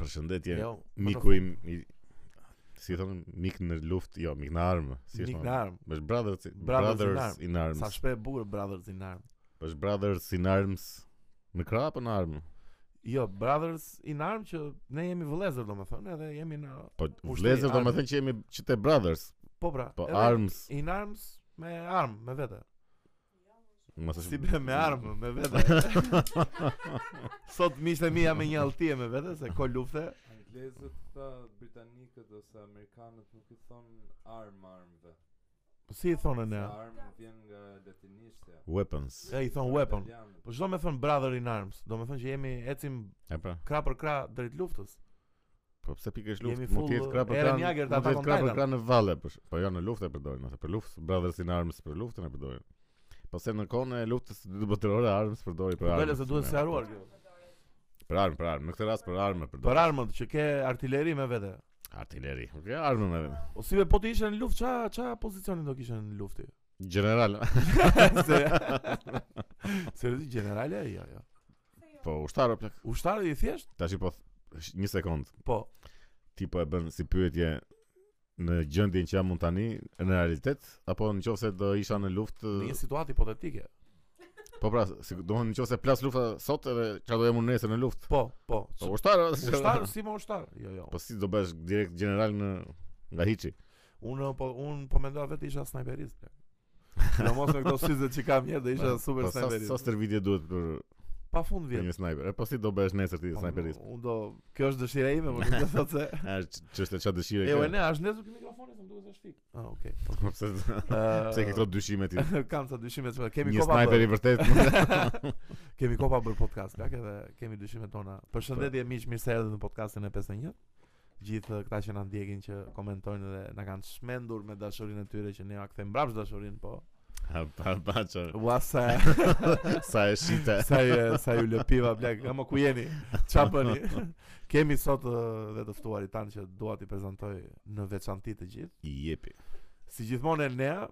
përshëndetje Jo, miku mikrofon. im i si i thonë mik në luftë, jo, mik në armë, si Mik në thonë. armë. Është brothers, Brothers in brothers in arms. Sa shpe e bukur Brothers in Arms. Është brothers in arms në krah apo në armë? Jo, Brothers in Arms që ne jemi vëllezër domethënë, edhe jemi në Po Ushtri, vlezër do armë. më thënë që jemi që te brothers, po pra. po edhe arms, in Arms me armë, me vete. mos është Si be me armë, me vete. Sot miqtë e mia me një altie me vete se ko lufte. Anglezët këta britanikët ose amerikanët nuk i thon arm armëve. Si i thonë Se ne? arm vjen nga latinishtja. weapons. E i thon weapon. Italianët. Po çdo me thon brother in arms, do me thon që jemi ecim E pra, krah për krah drejt luftës. po pse pikërisht Jemi luftë mund të jetë full, krah për Eren krah. Mund Jager, të Attack jetë on krah për Titan. krah në valle, po sh- po jo në luftë e përdorin ose për luftë, brothers in arms për luftën e përdorin. Po se në kohën e luftës të botërore arms përdori për Po armë. bele se duhet Ne, se haruar kjo. Për armë, për armë, në këtë rast për armë përdor. Për armët që ke artilleri me vete. Artilleri. Nuk e armë me vend. O si be po të ishe në luftë, qa, qa pozicionin do kishe në lufti? General. se, se rëdi generale, jo, jo. Po ushtar o plak. Ushtarë i thjesht? Tashi po th- një sekond. Po, Ti po e bën si pyetje në gjendjen që jam unë tani në realitet apo në qoftë se do isha në luftë në një situatë hipotetike. po pra si domun në qoftë se plas lufta sot edhe çfarë do jem unë nesër në luftë Po, po. po ushtar o, Ushtarë, si më ushtarë? Jo, jo. po si do bësh direkt general në nga hiçi Unë po, unë po mendoja vetë isha snajperist. plak. Në mos me këto syzet që kam njerë dhe isha super po sa sa snajperist. stërvitje duhet për Pa fund për vjetë. një sniper e po si do bësh nesër ti Po, sniperist Unë do, kjo është dëshira ime, më nuk do thotë se. a ç- ç'është çfarë dëshire E, ke? u e ne, është ndezur për mikrofonin, se më duhet se shfik. Ah, okay. Po, pse pse ke këto dyshime ti kam sa dyshime të kemi një kopa sniper i bërë. vërtet Kemi kopa bërë podcast, kak edhe kemi dyshimet tona. Përshëndetje miq, mirë se erdhët në podcastin e 51. Gjithë këta që na ndjekin që komentojnë dhe na kanë shmendur me dashurinë e tyre që ne ja kthejmë mbrapsht dashurinë, po. Ha, pa pa çfarë Ua sa Sa e shite. sa ju- sa ju lëpiva blaq, ama ku jeni? Ç'a bëni? kemi sot ë, dhe të ftuarit tan që dua t'i prezantoj në veçantë të gjithë. I jepi. Si gjithmonë e nea,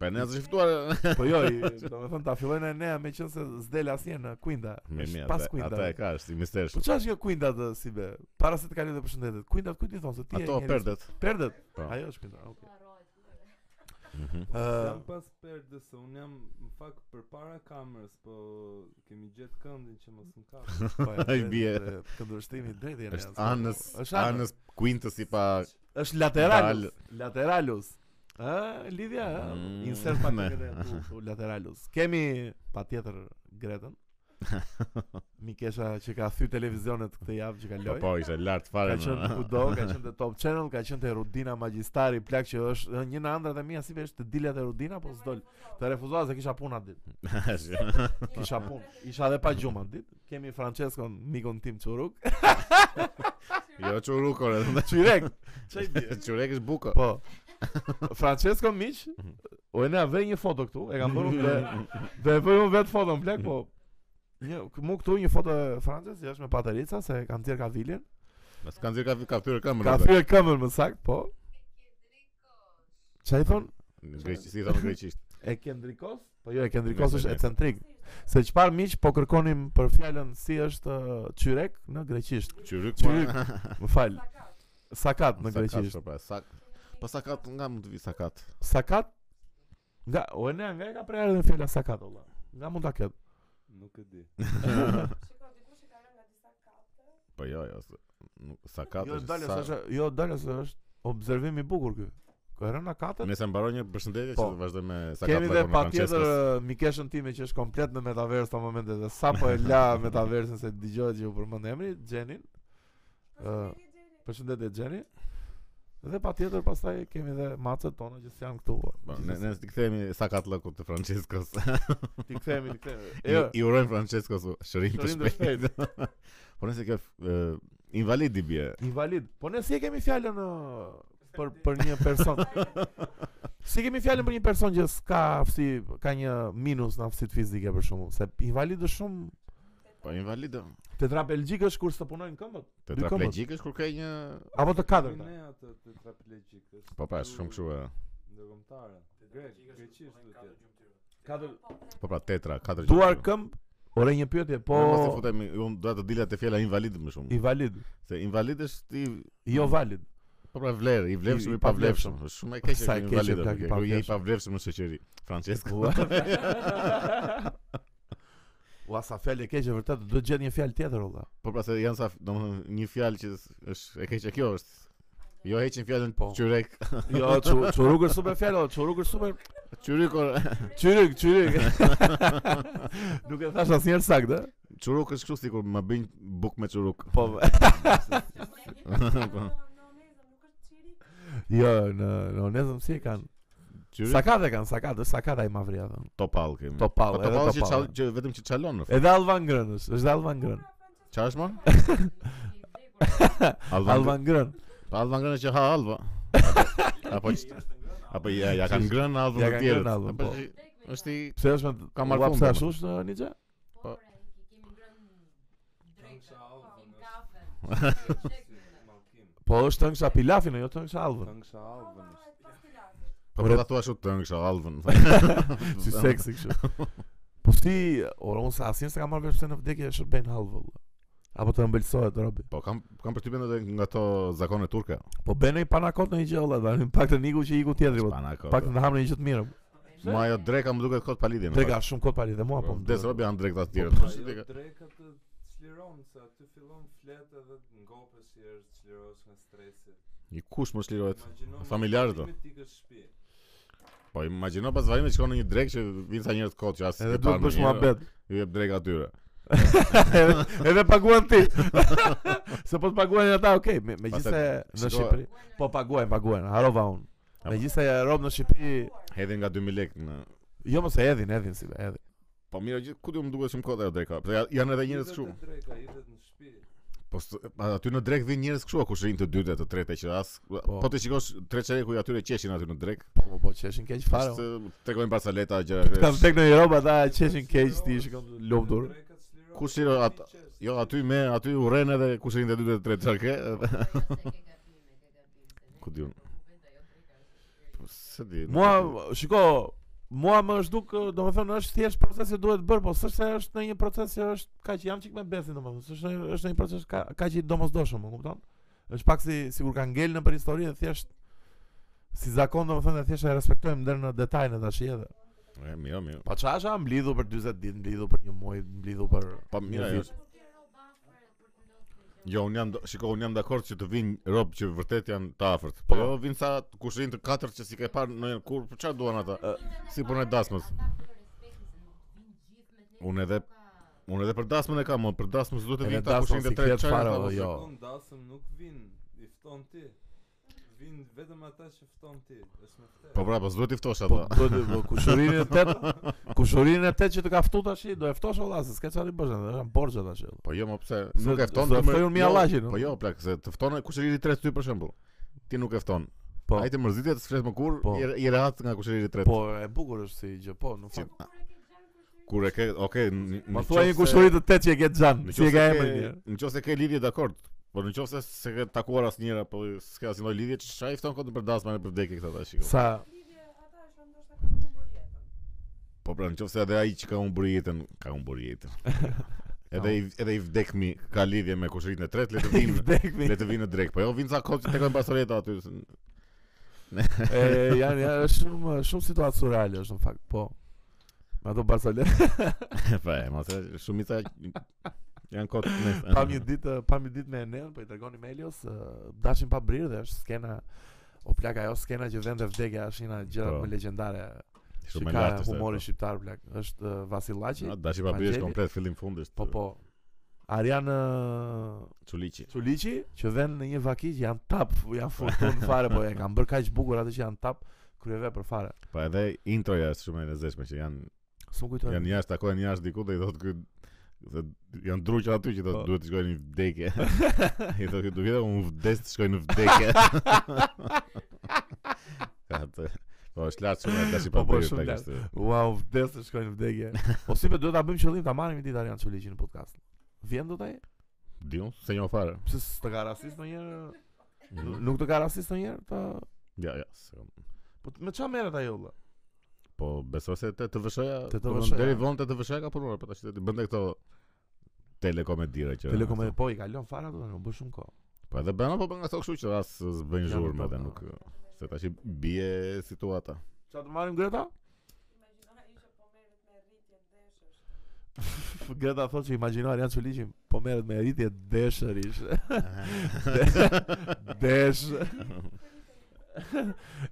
Pa ne as shftuar po jo, domethënë ta fillojnë e nea meqense s'del asnjë në Kuinda. me është mi pas ata. Kuinda. Ata e ka është i mister. Po çfarë është nga Kuindat ë, si be? Para se të kalojë të përshëndetet. Kuindat kujt i thon se ti je Ato njeri- perdet. Perdet. Po. Ajo është Kuinda. Okej. Mhm. Po, Ë. jam pas perdës, se unë jam në fakt përpara kamerës, po kemi gjetë këndin që mos më kap. Po, ja, Ai drejt, bie. e, Këndvështrimi i drejtë janë. Është janë, se- anës, Është anës. anës Quintus i pa Është lateralus. Lateralus. Ë, lidhja, Mm, ë, insert pak me. me lateralus. Kemi patjetër Gretën. Mikesha që ka thy televizionet këtë javë që po kaloi. po ishte lart fare. Ka qenë kudo, ka qenë te Top Channel, ka qenë te Rudina Magjistari, plak që është ë, një në andrat e mia si vesh të dilat e Rudina, po s'dol. Të refuzuar se kisha punë atë ditë. jo, Kisha punë. Isha edhe pa gjumë atë ditë. Kemi Franceskon, mikun tim Çuruk. Jo çurukore. Çyrek. Çaj bie. Çurek është buko. Po. Francesco miq, o ena vë një foto këtu, e kam bërë unë dhe dhe e bëj unë vet foton plak, po një mu këtu një foto e Frances, që është me paterica se kam thirr kavilin. Mos kanë zirë ka ka thyrë këmbën. Ka ata. thyrë këmbën më sakt, po. Çai thon? Në greqi si thonë në greqisht. E kendrikos? Po jo, e kendrikos është ecentrik. Se çfarë miq po kërkonim për fjalën si është ë, qyrek në greqisht. Çyryk. Çyryk Më fal. Sakat në greqisht. Po pra, sak. Po sakat nga mund të vi sakat. Sakat nga o e ne nga e ka prerë dhe fjala sakat olla. Nga mund ta ket. Nuk e di. Po jo, jo. s- nuk- Sakat. Jo është dalja sa- është jo dalja se është observim i bukur ky. Ka rënë katët. Nëse mbaron një përshëndetje që Po. të vazhdoj me sakat. Kemi dhe patjetër eh, Mikeshën time që është komplet në metaverse ta momente dhe sapo e la metaversin se dëgjohet që u përmend emri Xhenin. Ë përshëndetje Xheni. Dhe patjetër pastaj kemi dhe macet tona që janë këtu. Po, ne ne t'i kthehemi sa ka të lëkut të Franceskos. ti kthehemi, ti kthehemi. I, Jo, I urojmë Franceskos shërim të Shërim të shpejtë. po nëse kjo uh, invalid i bje. invalid. Po ne si e kemi fjalën ë, për për një person. Si kemi fjalën për një person që s'ka aftësi, ka një minus në aftësitë fizike për shkakun, se invalid është shumë Po invalid do. tetrapelgjik është kur s'të punojnë këmbët Tetraplegjik është kur ke një apo të Kemi katërta. Ne atë të traplegjik është. Po pra, është shumë kështu. e. Ndërkombëtare. Grek, greqisht do të jetë. Katër Po pra tetra, katër. duar gjë. këmb Ore një pyetje, po Ne mos të futemi, unë dua të dilja te fjala invalid më shumë. i valid, Se invalid është i jo valid. po pra vlerë, i vlefshëm I- i i pavlefshëm. pavlefshëm. Është shumë e keqe Sa e që keqe, invalid plak, i është. Kur je i pavlefshëm. pavlefshëm në shoqëri. Francesco. Ua. Ua sa fjalë e keqe vërtet, do të gjet një fjalë tjetër olla. Po pra se janë sa, domethënë një fjalë që s- është e keqe kjo është. Jo heqin fjalën Po. qyrek. Jo, çu- çurukër super fjalë, olla, çurukër super. Qyryk. ore. Çyryk, çyryk. Nuk e thash asnjëherë saktë. ë? Quruk është kështu sikur më bëjnë buk me quruk. Po. Po. Jo, në në Onezëm si e kanë? Qyryk Sakata e kanë, sakata, sakata i mavri atë. topall kemi. Topall, Po edhe topall që topall. çal- që vetëm që çalon në fakt. Edhe Alvan Grënës, është Alvan Grën. Çfarë është më? Alvan Alvan Grën. Pa Alva ngrënë që ha Alva. Apo apo ja ja kanë ngrënë Alva Ja të kanë tjerët. ngrënë Alvën, Apo po. shi- është i Pse është me Ka marrë pse fund, ashtu është Nice? Po. Po është Tëngsha Pilafin, jo Tëngsha Alvën. Këngë shalvën është po Bre- ta thua ashtu të ngjë Alvën. Si seksi kështu. Po si, ora unë sa asnjë s'ka marrë vesh pse në vdekje shërben halvë. valla. Apo të ëmbëlsohet robi. Po kam kam përtypjen edhe nga ato zakone turke. Po bën një panakot në një gjë olla, tani pak të niku që iku tjetri, po Spana kohë. pak të ham në një gjë të mirë. Ma ajo dreka më duket kot palidhje. Dhe ka shumë kot pali dhe mua po po. më des duhet. robi janë drekta të tjerë. Si Po, ajo dreka? dreka të çliron se aty fillon flet edhe të ngopesh si herë çlirosh nga stresi. Një kush më shlirohet. Imagjino mos familjarë do. shkimi ti ke shtëpi. Po imagjino pas vajmit shkon në një drekë që vin sa njerëz kot që as Edhe e duhet parë bësh ndonjëherë, muhabet. Ju jep drek atyre. edhe, edhe paguan ti. Se po të paguajnë ata, okay, me- megjithse në shiko- Shqipëri. Po paguajnë, paguajnë, harova unë. Apo- Megjithse rob në Shqipëri, Hedhin nga 2000 lekë në jo mos e hedhin, hedhin si hedhin. Po mirë, gjithë- ku do më duket shumë kot ajo dreka. Se ja- janë edhe njerëz Hidhet kështu. e Dreka hidhet në shtëpi. Po s- a- aty në drek vin njerëz kështu kush rinë të dytë të tretë që as po, ti shikosh tre çereku i atyre qeshin aty në drek. Po po, po qeshin keq fare. unë. Se tregojnë barsaleta Kam gjëra. tek në Europë ata qeshin keq ti shikon lumtur. Dreka të çliron. Ku shiro atë? Jo, aty me aty urren edhe kush rinë të dytë të tretë çarke. Ku diun. Po, Se di. nuk e di. Mua, shiko, mua më është duk, domethënë është thjesht proces që duhet bër, po s'është se është në një proces që është kaq jam çik me besin domethënë, s'është është në një proces ka- kaq i domosdoshëm, e kupton? Është pak si sikur ka ngelë në për histori dhe thjesht si zakon domethënë e thjesht e respektojmë deri në detajin tash edhe. E, mirë, mirë. Po çasha mblidhu për 40 ditë, mblidhu për një muaj, mblidhu për Po mirë ajo. është. Jo, unë jam do- shiko, unë jam dakord që të vinë rob që vërtet janë të afërt. Po jo vin sa kush rinë të katërt që si ke parë në kur, po çfarë duan ata? Si punë e dasmës. Unë edhe Unë edhe për dasmën e kam, o, për dasmën s'duhet të Edhe vinë ta kush dasmën rinë të si tretë klet fare, çarke. o, apo- jo. Kon dasëm nuk vin, i fton ti. Vin vetëm ata që fton ti. Është me ftet. Po pra, po s'duhet i ftosh po ata. duhet po, kushurinë e tet, kushurinë e tet që të ka ftu tash, do e ftosh valla, se s'ka çfarë bësh, janë borxha tash. valla. Po jo, mo pse Se- nuk e fton se më- ftojun mi jo, Allahin, Po no? jo, plak, se të fton kushëriri i tretë ty për shembull. Ti nuk e fton. Po. Ai të mërzitet të flet më kur, Po. i- i rehat nga kushëriri i tretë. Po e bukur është si gjë, po, në Si- fakt. Kur e ke, okay, n- Ma në thua një qoftë se- kushëri të tetë që e ke xhan, në si e qoftë ka se emrin ke- ti? Në qoftë se ke lidhje dakord. Po në qoftë se se ke takuar asnjëra, po s'ke asnjë lloj lidhje, çfarë i fton kodën për dasmën e për vdekje këta tash, shiko. Sa Po pra, në qoftë se edhe ai që ka humbur jetën, ka humbur jetën. Edhe i, edhe i vdekmi ka lidhje me kushërinë e tretë, le të i vinë vdekmi. le të vinë në drek. Po jo, vinë sa kohë që tekojnë basoleta aty. se- E janë janë është shumë shumë situatë surreale është në fakt, po. Me ato Barcelona Po, e, mos e shumica janë kot në. pam një ditë, pam një ditë me Enel, po i dërgoni me Elios, ë, dashin pa brirë dhe është skena o plak ajo skena që vende vdekja është një gjëra Po. më legjendare. Që shumë e ka lartë. po. humori shqiptar plak. Është ë, Vasillaçi. shqiptar. Dashi pa brirësh Angeli. komplet fillim fundisht. Po po. Arian ë, Çuliçi. Çuliçi që vën në një vaki që janë tap, janë fortun fare, po e kanë bërë kaq bukur atë që janë tap kryeve për fare. Po edhe introja është shumë e lezetshme që janë S'u kujtoj. janë jashtë takohen jashtë diku dhe i thotë ky dhe janë druqë aty që thotë Po. duhet të shkojnë në vdekje. I thotë ky duhet unë vdes të shkoj në vdekje. Ka të- Po është lartë shumë e dashi Po, pa po, brirësh shumë tek lartë. kështu. Wow, vdes të shkojnë në vdekje. Po si be duhet ta bëjmë qëllim ta marrim një ditë Arian Çuliçi në podcast. Vjen do taj? Diu, se një fare. Pse s'të ka rasist ndonjëherë? Nuk të ka rasist ndonjëherë po, ta Ja, ja. se- Po t- me çfarë merret ajo vëlla? po besoj se te TVSH-ja, Te domethënë TVSH-ja. deri vonë te TVSH-ja ka punuar, po tash ti bënte këto telekomendira që. Telekom e po i kalon fara ato, nuk bën shumë kohë. Po edhe bën apo bën ato kështu që as s'bën Jam zhurmë po, edhe po. nuk se tash i bie situata. Çfarë të marrim Greta? Greta thotë që imagjinoj janë çuliqim, po merret me rritje deshërish. Desh.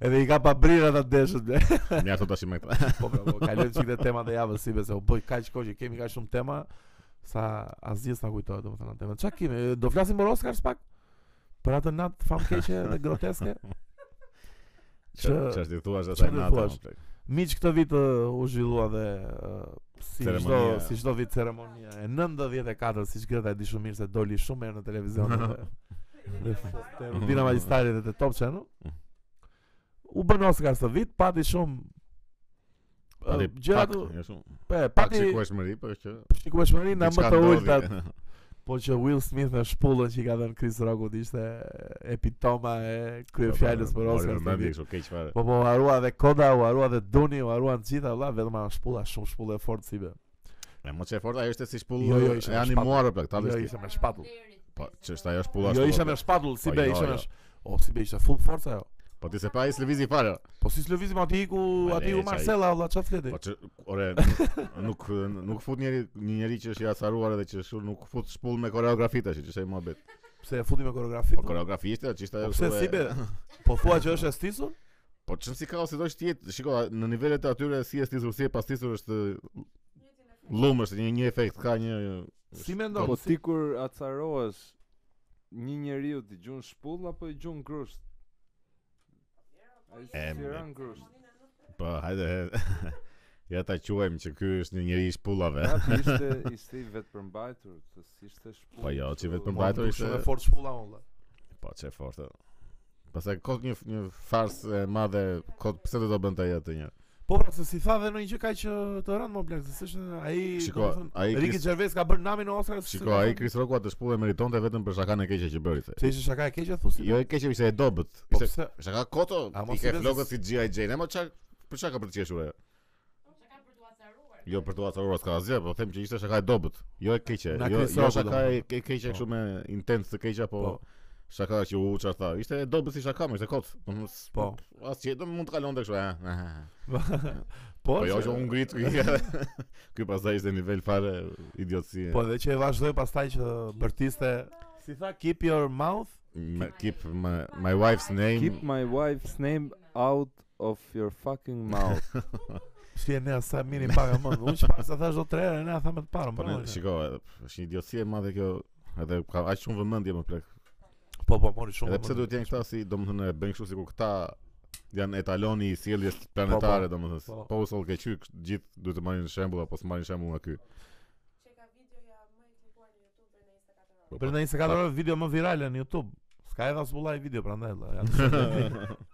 Edhe i ka pa brira ta deshët. ble. Ne ato tash me këta. Po po, po kalojmë çikë temat e javës si besoj. Po kaq kohë që kemi kaq shumë tema sa asgjë s'na kujtohet domethënë atë. Çka kemi? E, Do flasim për Oscar pak? Për atë natë famkeqe dhe groteske? Që Çfarë ti thua çfarë asaj ti natë? thuash? miq këtë vit ë, u zhvillua dhe ë, si çdo Ceremonia. si çdo vit ceremonia e 94 siç Greta e di shumë mirë se doli shumë herë në televizion. dhe- Dhe te rutina magjistare dhe te Top Channel. U bën Oscar së vit, pati shumë Pati ë, gjëra pak, të- jo shumë. pe, Pak pati shikueshmëri, po që shikueshmëri na më diçka të ndodhi. ultat, po që Will Smith me shpullën që i ka dhënë Chris Rockut ishte epitoma e Po, kryefjalës për Mori Oscar. vëmendje së vit. kështu keq fare. Po po harua dhe Koda, u harua dhe Duni, u haruan të gjitha vëlla, vetëm ajo shpulla shumë shpullë e fortë si be. E mos e forta, ajo ishte si shpull Jo, jo, e ishte me animuar plak, ta Jo, vesh. ti. ishte me shpatull. Po, ç'është ajo shpulla. Jo ashtu, ishte po, me shpatull si Po, be, jo, ishte jo. me sh... O si be ishte full forca ajo. Po ti se pa ai s'lëvizi fare. Po si s'lëvizim aty ku Ma aty le, ku qa Marcella vëlla çfarë fleti. Po që, ore, nuk nuk fut njëri një njeri që është i acaruar edhe që shumë nuk fut shpull me koreografi tash, që është ai mohabet. Pse e futi me koreografi? Po koreografi ishte, që ishte Po ajo. pse kështu si e- be? Po thua që është e stisur? Po çm si ka ose do të jetë, shiko, a- në nivelet e atyre si është tisur, si e pastisur është llumë është një një efekt ka një Si mendon? Po si- ti kur acarohesh një njeriu ti gjun shpull apo i gjun grusht? Ai Em, si ran grusht. po hajde. he- Ja ta quajmë që ky është një njeri i shpullave. Prapë ishte ishte i vetëmbajtur, se ishte shpull. Po jo, që i kështu- Po, vetëmbajtur nduk ishte- Shumë e fortë shpulla vëlla. Po çe fortë. Pastaj kot një një farsë e madhe, kot pse do ta bënte ai atë një. Po pra se si tha dhe në një gjë kaq që të rënd më blek, se s'është ai. Shiko, domethënë, ai Ricky Chris- Gervais ka bërë namin në Oscar. s'është- Shiko, ai Chris Rocku atë shpullë e meritonte vetëm për shakan e keqe që bëri. se. Se ishte shaka e keqe thusi. Jo e keqe ishte e dobët. po Ishte pse? shaka koto, A i mos ke i lezë- flokët si G.I. Jane, e mo çka për çka ka për të qeshur ajo? Jo për të acaruar s'ka asgjë, po them që ishte shaka e dobët, jo e keqe. Na Jo, Chris jo Rocku, shaka e domethënë. ke- keqe Po. kështu me intens të keqja, po Po. shaka që u çfarë tha. Ishte e dobët si shaka, mo, ishte kot. Domethënë, s- Po. As që do mund të kalonte kështu. eh, eh, eh. Po, Po jo që- që unë ngrit ky. Ky pastaj ishte nivel fare idiotësie. Po edhe që e vazhdoi pastaj që bërtiste si tha keep your mouth Me- keep my, my wife's name. po. Keep my wife's name out of your fucking mouth. si e ne sa mini pak më unë çfarë sa thash do tre herë ne a thamë të parën Po ne, po shiko, e, është një idiotësi e madhe kjo. Edhe ka aq shumë vëmendje më plak. po po mori shumë Edhe pse duhet të jenë këta si domethënë e bëjnë kështu sikur këta janë etaloni i sjelljes planetare domethënë. po. Po u ke qyk, gjithë duhet të marrin shembull apo s'marrin shembull nga ky. për në 24 orë video më virale në YouTube s'ka edhe as bullaj video prandaj vëlla janë shumë-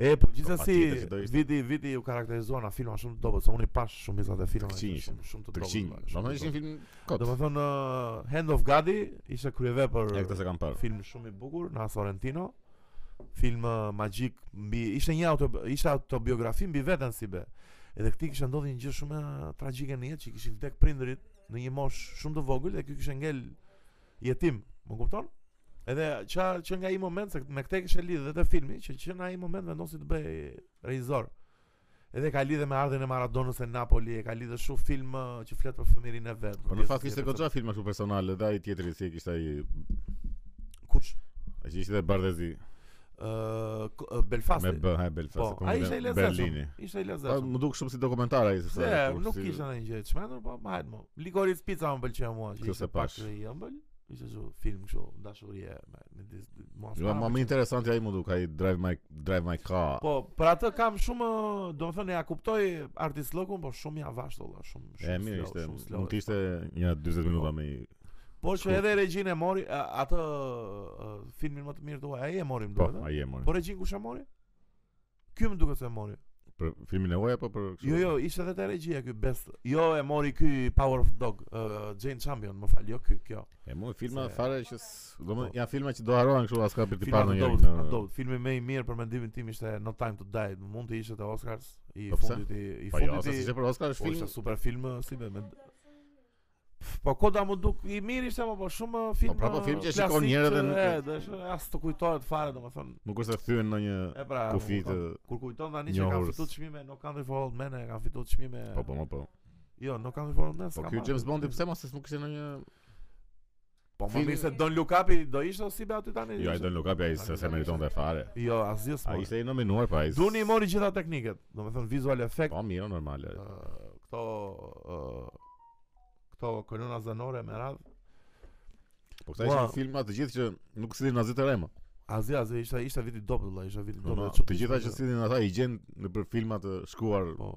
E, po patjetër gjithsesi që do ishte. viti viti u karakterizuan nga filma shumë të dobët, se unë i pash shumë disa të filmave Tërqinj ishin, shumë shumë të dobët. Tërqinj. valla, shumë Domethënë të ishin dobët. film kot. po, Domethënë uh, Hand of Gadi ishte kryevepër Ja këtë se kam parë. film shumë i bukur nga Sorrentino. Film ë, magjik mbi ishte një auto ishte autobiografi mbi veten si be. Edhe këtij kishte ndodhur një gjë shumë ë, tragjike në jetë që kishin vdek prindrit në një moshë shumë të vogël dhe ky kishte ngel jetim, më kupton? Edhe që, që nga i moment, se me këte kështë e lidhë dhe të filmi, që që nga i moment vendosi të bëj regjisor. Edhe ka lidhe me ardhin e Maradonës e Napoli, e ka lidhe shumë film ë, që fletë për fëmirin e vetë. Po në fakt ishte goxha filma kështu personale dhe ai tjetri si e kishte ai Kush? ai që ishte dhe Bardezi Ë, ko- ë, Belfasti. me B, ha Belfast. Po, ai ishte i lezetshëm. Berlini. Ishte i Po lezetshëm. më duk shumë si dokumentar ai sepse. Se, kur nuk po si- kishte ndonjë gjë të çmendur, po hajt më. Likoric pizza më pëlqeu mua, që Kjo se ishte pak pash. i ëmbël. Ishte kështu film kështu dashurie me me dis mua. Jo, s'ma ma më pëlqeu. interesant ai më duk ai Drive My Drive My Car. Po, për atë kam shumë, domethënë ja kuptoj artist lokun, po shumë ja vasht olla, shumë shumë. E mirë slow, ishte, shumë Jo. slow. mund të ishte një 40 minuta me i- Po që shkurt. edhe regjinë e mori a- atë ë, filmin më të mirë tuaj, ai e morim Po, duhet. ë? ai e mori. Po regjin kush e mori? Ky më duket se e mori. Për filmin e huaj apo për kështu? Jo, jo, ishte edhe te regjia ky best. Jo, e mori ky Power of Dog, uh, Jane Champion, më fal, jo ky, kjo. E mu filma Se- fare që s- do më Po. janë filma që do harohen kështu as ka për të Filma parë të ndonjëri. dobët, në- të dobët. Filmi më i mirë për mendimin tim ishte No Time to Die. Mund të ishte te Oscars, i Po pse? fundit i, i Po jo, fundit se i. ishte për Oscar është Po film. ishte super film, si be, me Pff, Po koda më duk i mirë ishte më po shumë film. prapë eh, pra, film që e shikon klasik njerë dhe që, nuk- e, dhe është- as të kujtohet fare domethënë. Nuk është se thyen në një E pra, kufi u- të kur kujton tani që kanë njohurës. fituar çmime No Country for Old Men, e kanë fituar çmime. Po po, mo, po. Jo, No Country for Old Men. Po s'ka ky marrë. James Bondi pse mos nuk ishte në një Po më Filmi- mirë se Don Lukapi do ishte ose be aty tani. Jo, ai ishte- Don Lukapi ai se se meriton të fare. Jo, asgjë s'po. Ai ishte i nominuar pa ai. s- Duni i mori gjitha tekniket, domethënë visual effect, Po mirë, normale. ë, këto ë, këto kolona zanore me radh. Po këta ishin Ua. filma të gjithë që nuk sillin as të rema. Asgjë, asgjë, ishte ishte viti i dobët, vëlla, ishte viti i Po, dobët. na, Të gjitha që sillin ata i gjen nëpër filma të shkuar. Po.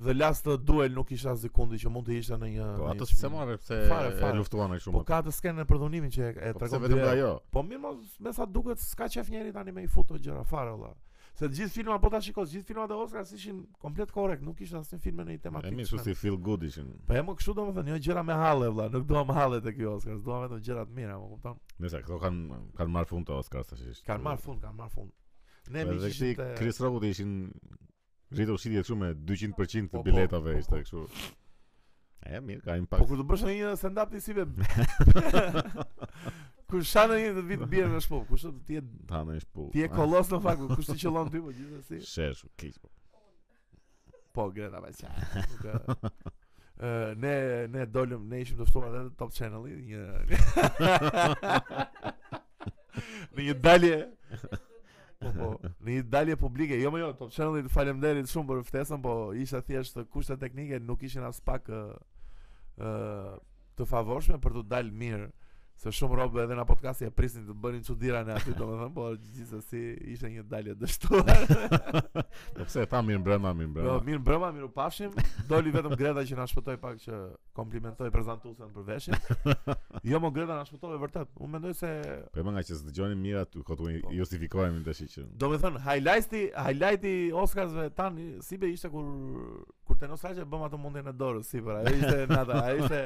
The Last Duel nuk ishte as sekundi që mund të ishte në një Po në ato një s'e film. marrë pse Fare, e fare. luftuan ai shumë. Po ka të skenën e përdhunimin që e, e Po pse tregon. vetëm dy nga herë. ajo. Po mirë, mos me sa duket s'ka qef njeri tani me i futo gjëra fare vëlla. Se të gjithë filmat, po ta shikosh, të gjithë filmat e Oscars ishin komplet korrekt, nuk ishte asnjë film me një E tematikë. mirë, kështu si feel good ishin. Po e më kështu do më thënë, jo gjëra me halle, vla, nuk doam halle të kjo Oscars, doam vetëm gjëra të mira, më kupton? Nëse këto kanë kanë marrë fund të Oscar tash ishte. Kanë marrë fund, kanë marrë fund. Ne mi Edhe që ishim këti të... Chris Rockut ishin rritur shitje kështu me 200% Po, të po, biletave po, ishte po. kështu. E mirë, ka Po impakt. kur të bësh një stand-up ti si be... kur shanë një të vitë bjerë në shpup, kush të ti e, Ta në shpu. Ah, ti e po. kolos në fakt, kush të qëllon ty, po gjithsesi. Shesh, keq. po. Po, Greta Bajqa. Uh, ne ne dolëm, ne ishim të ftuar edhe te Top Channel-i, një në një dalje Po, po, në një dalje publike, jo më jo, Top Channel-i faleminderit shumë për ftesën, po isha thjesht kushte teknike nuk ishin as pak ë ë të favorshme për të dalë mirë. Se shumë robë edhe në podcast e prisin të bënin çuditëra në aty, domethënë, por gjithsesi ishte një dalje dështuar. Po pse ta mirë brenda, mirë Jo, brenda. mirë mbrëma, mirë u pafshim. Doli vetëm Greta që na shpëtoi pak që komplimentoi prezantuesen për veshin. Jo, mo Greta na shpëtoi vërtet. Unë mendoj se Po e më nga që s'dëgjoni mirë aty, kotu i- Po. justifikohemi tash që. do me thënë, highlighti, highlighti Oscarsve tani, si be ishte kur, kur të nësraqe bëm atë mundin e dorës, si për, ajo ishte nata, ajo ishte,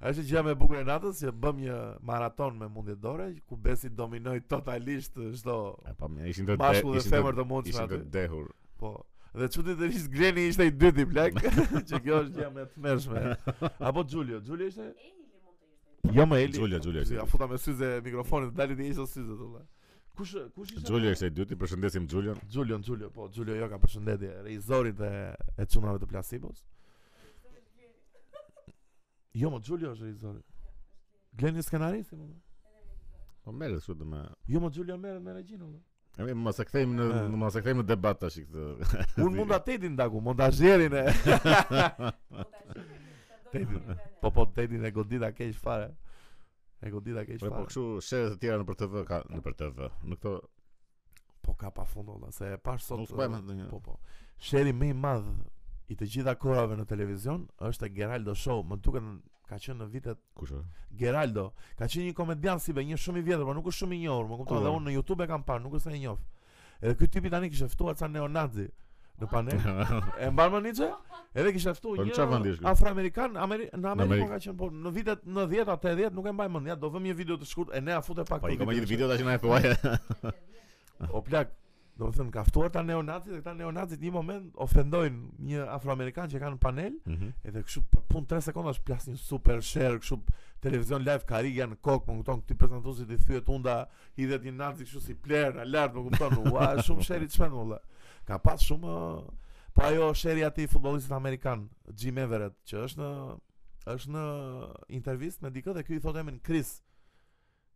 ajo ishte gjëja me bukur e natës, që bëm një maraton me mundin e dore, ku besi dominoj totalisht çdo E pa mirë, ishin të de- mashkull dhe ishin të- femër të mundshme Ishin të aty. dehur. Po. Dhe çuditërisht Gleni ishte i dyti plak, që kjo është gjë më e tmerrshme. Apo Giulio, Giulio ishte? Jo më Eli. Giulio, Giulio ishte. Ja futa me syze mikrofonin, dali ti ishte syze tholla. Kush kush ishte? Giulio ishte i dyti, përshëndesim Giulion. Giulio, Giulio, po Giulio jo ka përshëndetje reizorit e e çunave të plasibos. Jo, më Giulio është reizori. Gleni skenaristi, më. Po merret kështu të më. Jo, më Giulio merret me regjinë. më. E mirë, mos e kthejmë në E. mos e kthejmë në debat tash këtë. Unë mund ta tetin ndaku, montazherin e Tetin. Po po tetin e godita keq fare. E godita keq Po po fare. kështu shere të tjera në për TV ka në për TV. Në këto Po ka pa fund olla, se e pash sot. nuk po e më ë, ndonjë. Po po. Sheri më i madh i të gjitha korave në televizion është e Geraldo Show, më duket n- ka qenë në vitet Kush është? Eh, Geraldo. Ka qenë një komedian si be, një shumë i vjetër, por nuk është shumë i njohur, më kupton, Ku edhe e? unë në YouTube e kam parë, nuk është se e njoh. Edhe ky tipi tani kishte ftuar ca neonazi në panel. E mban më Nietzsche? Edhe kishte ftuar Po në çfarë vendi është ky? një afroamerikan, Ameri në Amerikë Amerikë. po ka qenë po në vitet 90-a 80 nuk e mbaj mend. Ja do vëmë një video të shkurtë e ne a fute pak Po i këto kam videote. gjithë video tash na e thuaje. O plak, do të thënë ka ftuar ta neonazit dhe këta neonazit një moment ofendojnë një afroamerikan që ka në panel Mhm. edhe kështu për pun 3 sekondash plas një super share kështu televizion live karigja në kokë, më kupton këty prezantuesit i thyet unda hidhet një nazi kështu si player në lart, më kupton. Ua, shumë share i çmend valla. Ka pas shumë ë, po ajo sheri aty futbollistit amerikan Jim Everett që është në është në intervistë me dikë dhe ky i thot emrin Chris.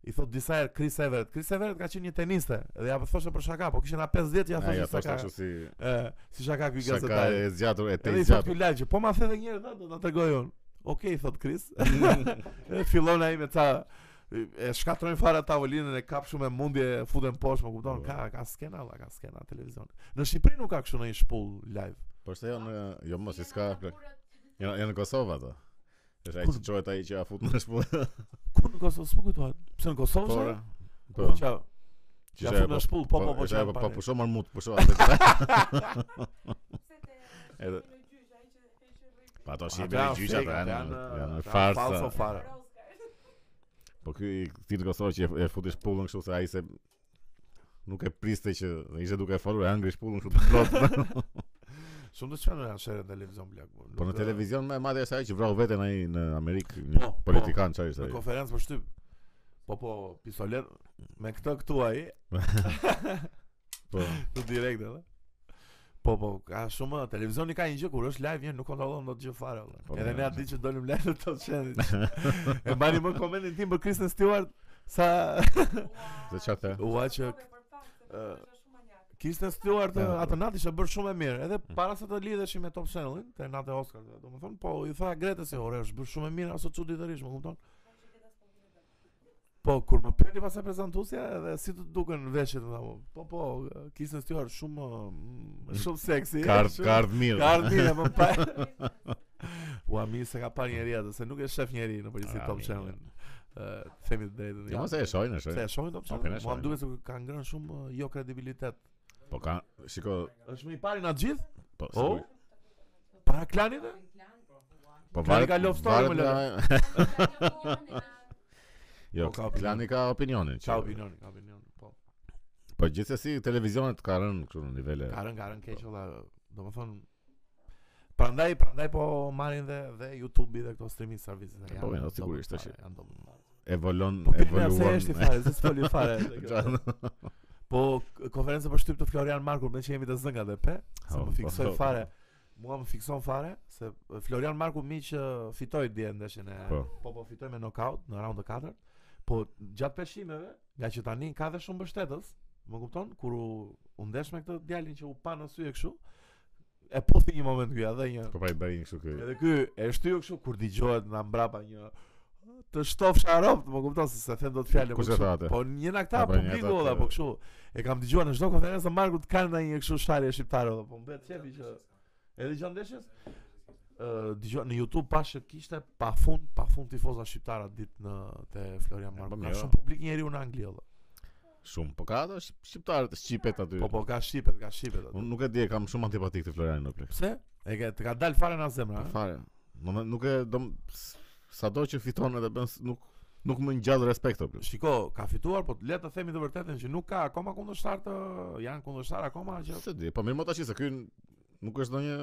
I thot disa herë Chris Everett. Chris Everett ka qenë një teniste dhe ja thoshte për shaka, po kishin na 50 ja Ai thoshte ja se thoshte ka. kështu si Ë, si shaka ky shaka gazetar. e zgjatur e te Edhe i thot zgjatur. ky lagje, po ma the edhe një herë tha, do ta tregoj unë. Okej, thot Kris. Edhe Fillon ai me ca e shkatrojnë fara tavolinën e kap shumë e mundje e futen poshtë, më Po. kupton? Ka ka skena, valla, ka skena televizion. Në Shqipëri nuk ka kështu në një shpull live. Po se jo në jo mos i ska plak. Janë janë në Kosovë ato. Është ai Kur- që çohet ai që ia fut në shpullë. Ku në Kosovë s'më kujtohet? Pse në Kosovë? Po. Po. Po. Qa, Që Po, Ja ishe- fut në shpull, po po po ishe- çfarë Po bane? pusho marmut, pusho atë. Edhe Pa ato si me Ata gjyqa fake, pra, ata janë janë- janë ata janë falso farsa. fare. Po ky ti të kosoj që e- e futi shpullën kështu se ai se nuk e priste që ishte duke folur e angri shpullën kështu të plot. Shumë të çfarë janë shere në televizion blak. po, Po në nuk, eh, televizion më e madhe është ai që vrau veten ai në Amerikë, një Po, po. politikan çfarë ishte Në ai. konferencë për shtyp. Po po, pistolet me këtë këtu ai, Po. tu direkt edhe. Po po, ka shumë televizioni ka një gjë kur është live vjen nuk kontrollon dot gjë fare. valla. Po, Edhe po, ne po. atë ditë që dolim live në Top Channel. e bani më komentin tim për Kristen Stewart sa Dhe çfarë the? ua që ë, Kristen Stewart Po, ë, po. atë natë ishte bërë shumë e mirë, edhe Mm. para se të lidheshim me Top Channelin, te natë e Oscar, domethënë, po i tha Gretës se ore është bërë shumë e mirë aso çuditërisht, më kupton? Po, kur më pyeti pasaj prezantuesja edhe si të duken veshjet, më tha, po po, Kristen Stewart shumë mm, shumë seksi. Kard shumë- kard mirë. Kard mirë, po pa. Ua mirë se ka parë njeri atë, se nuk e shef njeri në përgjithësi Ah, Top mirë. Channelin. Ë, themi të drejtën. Jo, mos e shohin, e Se shohin. e shohin Top Ok, ne Channel, mua shohim. më duket se ka ngrënë shumë ë, jo kredibilitet. Po ka, shiko, Është më i pari na të gjithë? po. se O? kuj- Para klanit? e? Po Klani varet. ka love story, varet më nga- Jo, Po, ka opinion. Klani ka opinionin. që- Ka opinioni, ka opinioni. Po. Po gjithsesi televizionet ka rënë këtu në nivele. Ka rën, ka rën keq valla. Domethën prandaj prandaj po marrin dhe dhe YouTube-i dhe këto streaming services. Po, po, sigurisht, dobët është fare, janë dobët fare. Evolon, Po pina se evoluon. është i fare, se s'foli fare. Çfarë? Po k- konferenca për shtyp të Florian Markur, me që jemi të zëngat dhe pe, se Oh, më fiksoj po. fare. Mua më fikson fare se Florian Marku miq ë, fitoi dje ndeshjen e Po. po po fitoi me knockout në raundën e katërt. Po gjatë peshimeve, nga që tani ka dhe shumë mbështetës, më kupton? Kur u, u ndesh me këtë djalin që u pa në sy e kështu, e puthi një moment ky edhe një Po pa i bërin kështu ky. Edhe ky e shtyu kështu kur dëgjohet nga mbrapa një të shtofsha rob, më kupton se se them dot fjalë Kush e tha atë? Po një na këta Apo një publiku atë- olla, po kështu. E kam dëgjuar në çdo konferencë të Markut kanë ndonjë kështu sharje shqiptare olla, po mbet çepi që edhe gjatë ndeshjes ë dëgjoj në YouTube pashë kishte pafund pafund tifoza shqiptara ditë në te Florian po Marku. Ka mirë. shumë publik njeriu në Angli olla. Shumë, po ka ato shqip- shqiptarët, shqipet aty. Po po ka shqipet, ka shqipet. aty. Unë nuk e di, e kam shumë antipatik te Floriani në plek. Pse? E ke të ka dal fare nga zemra. Po a? fare. Do me- nuk e do m- s- sado që fiton edhe bën s- nuk nuk më ngjall respekt apo. Shiko, ka fituar, po le të themi të vërtetën që nuk ka akoma kundërshtar të janë kundërshtar akoma që Se di, po mirë më tash se ky n- nuk është ndonjë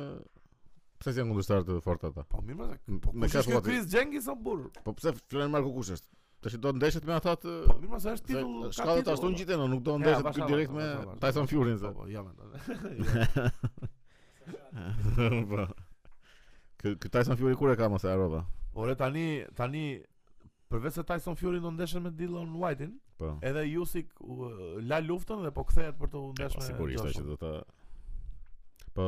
pse si janë kundërshtar të fortë ata. po mirë se M- po me kush ka është ky thua ti? Kris Jenkins o burr? Po pse Florian Marku kush është? Tash do ndeshet me ata të Po mirë se është titull ka Shkallët titull, ashtu po. ngjiten, nuk do Ja, ndeshet bashkë, jo, ky direkt bashkë, me bashkë, bashkë. Tyson Fury se. Po, po, ja, mendoj. Po. Ky ky Tyson Fury kur e ka mos e harrova. Ore tani tani përveç se Tyson Fury do ndeshet me Dylan White-in, Po. edhe Usyk u, la luftën dhe po kthehet për të E, ndeshur po, me Sigurisht Joshua. që do ta Po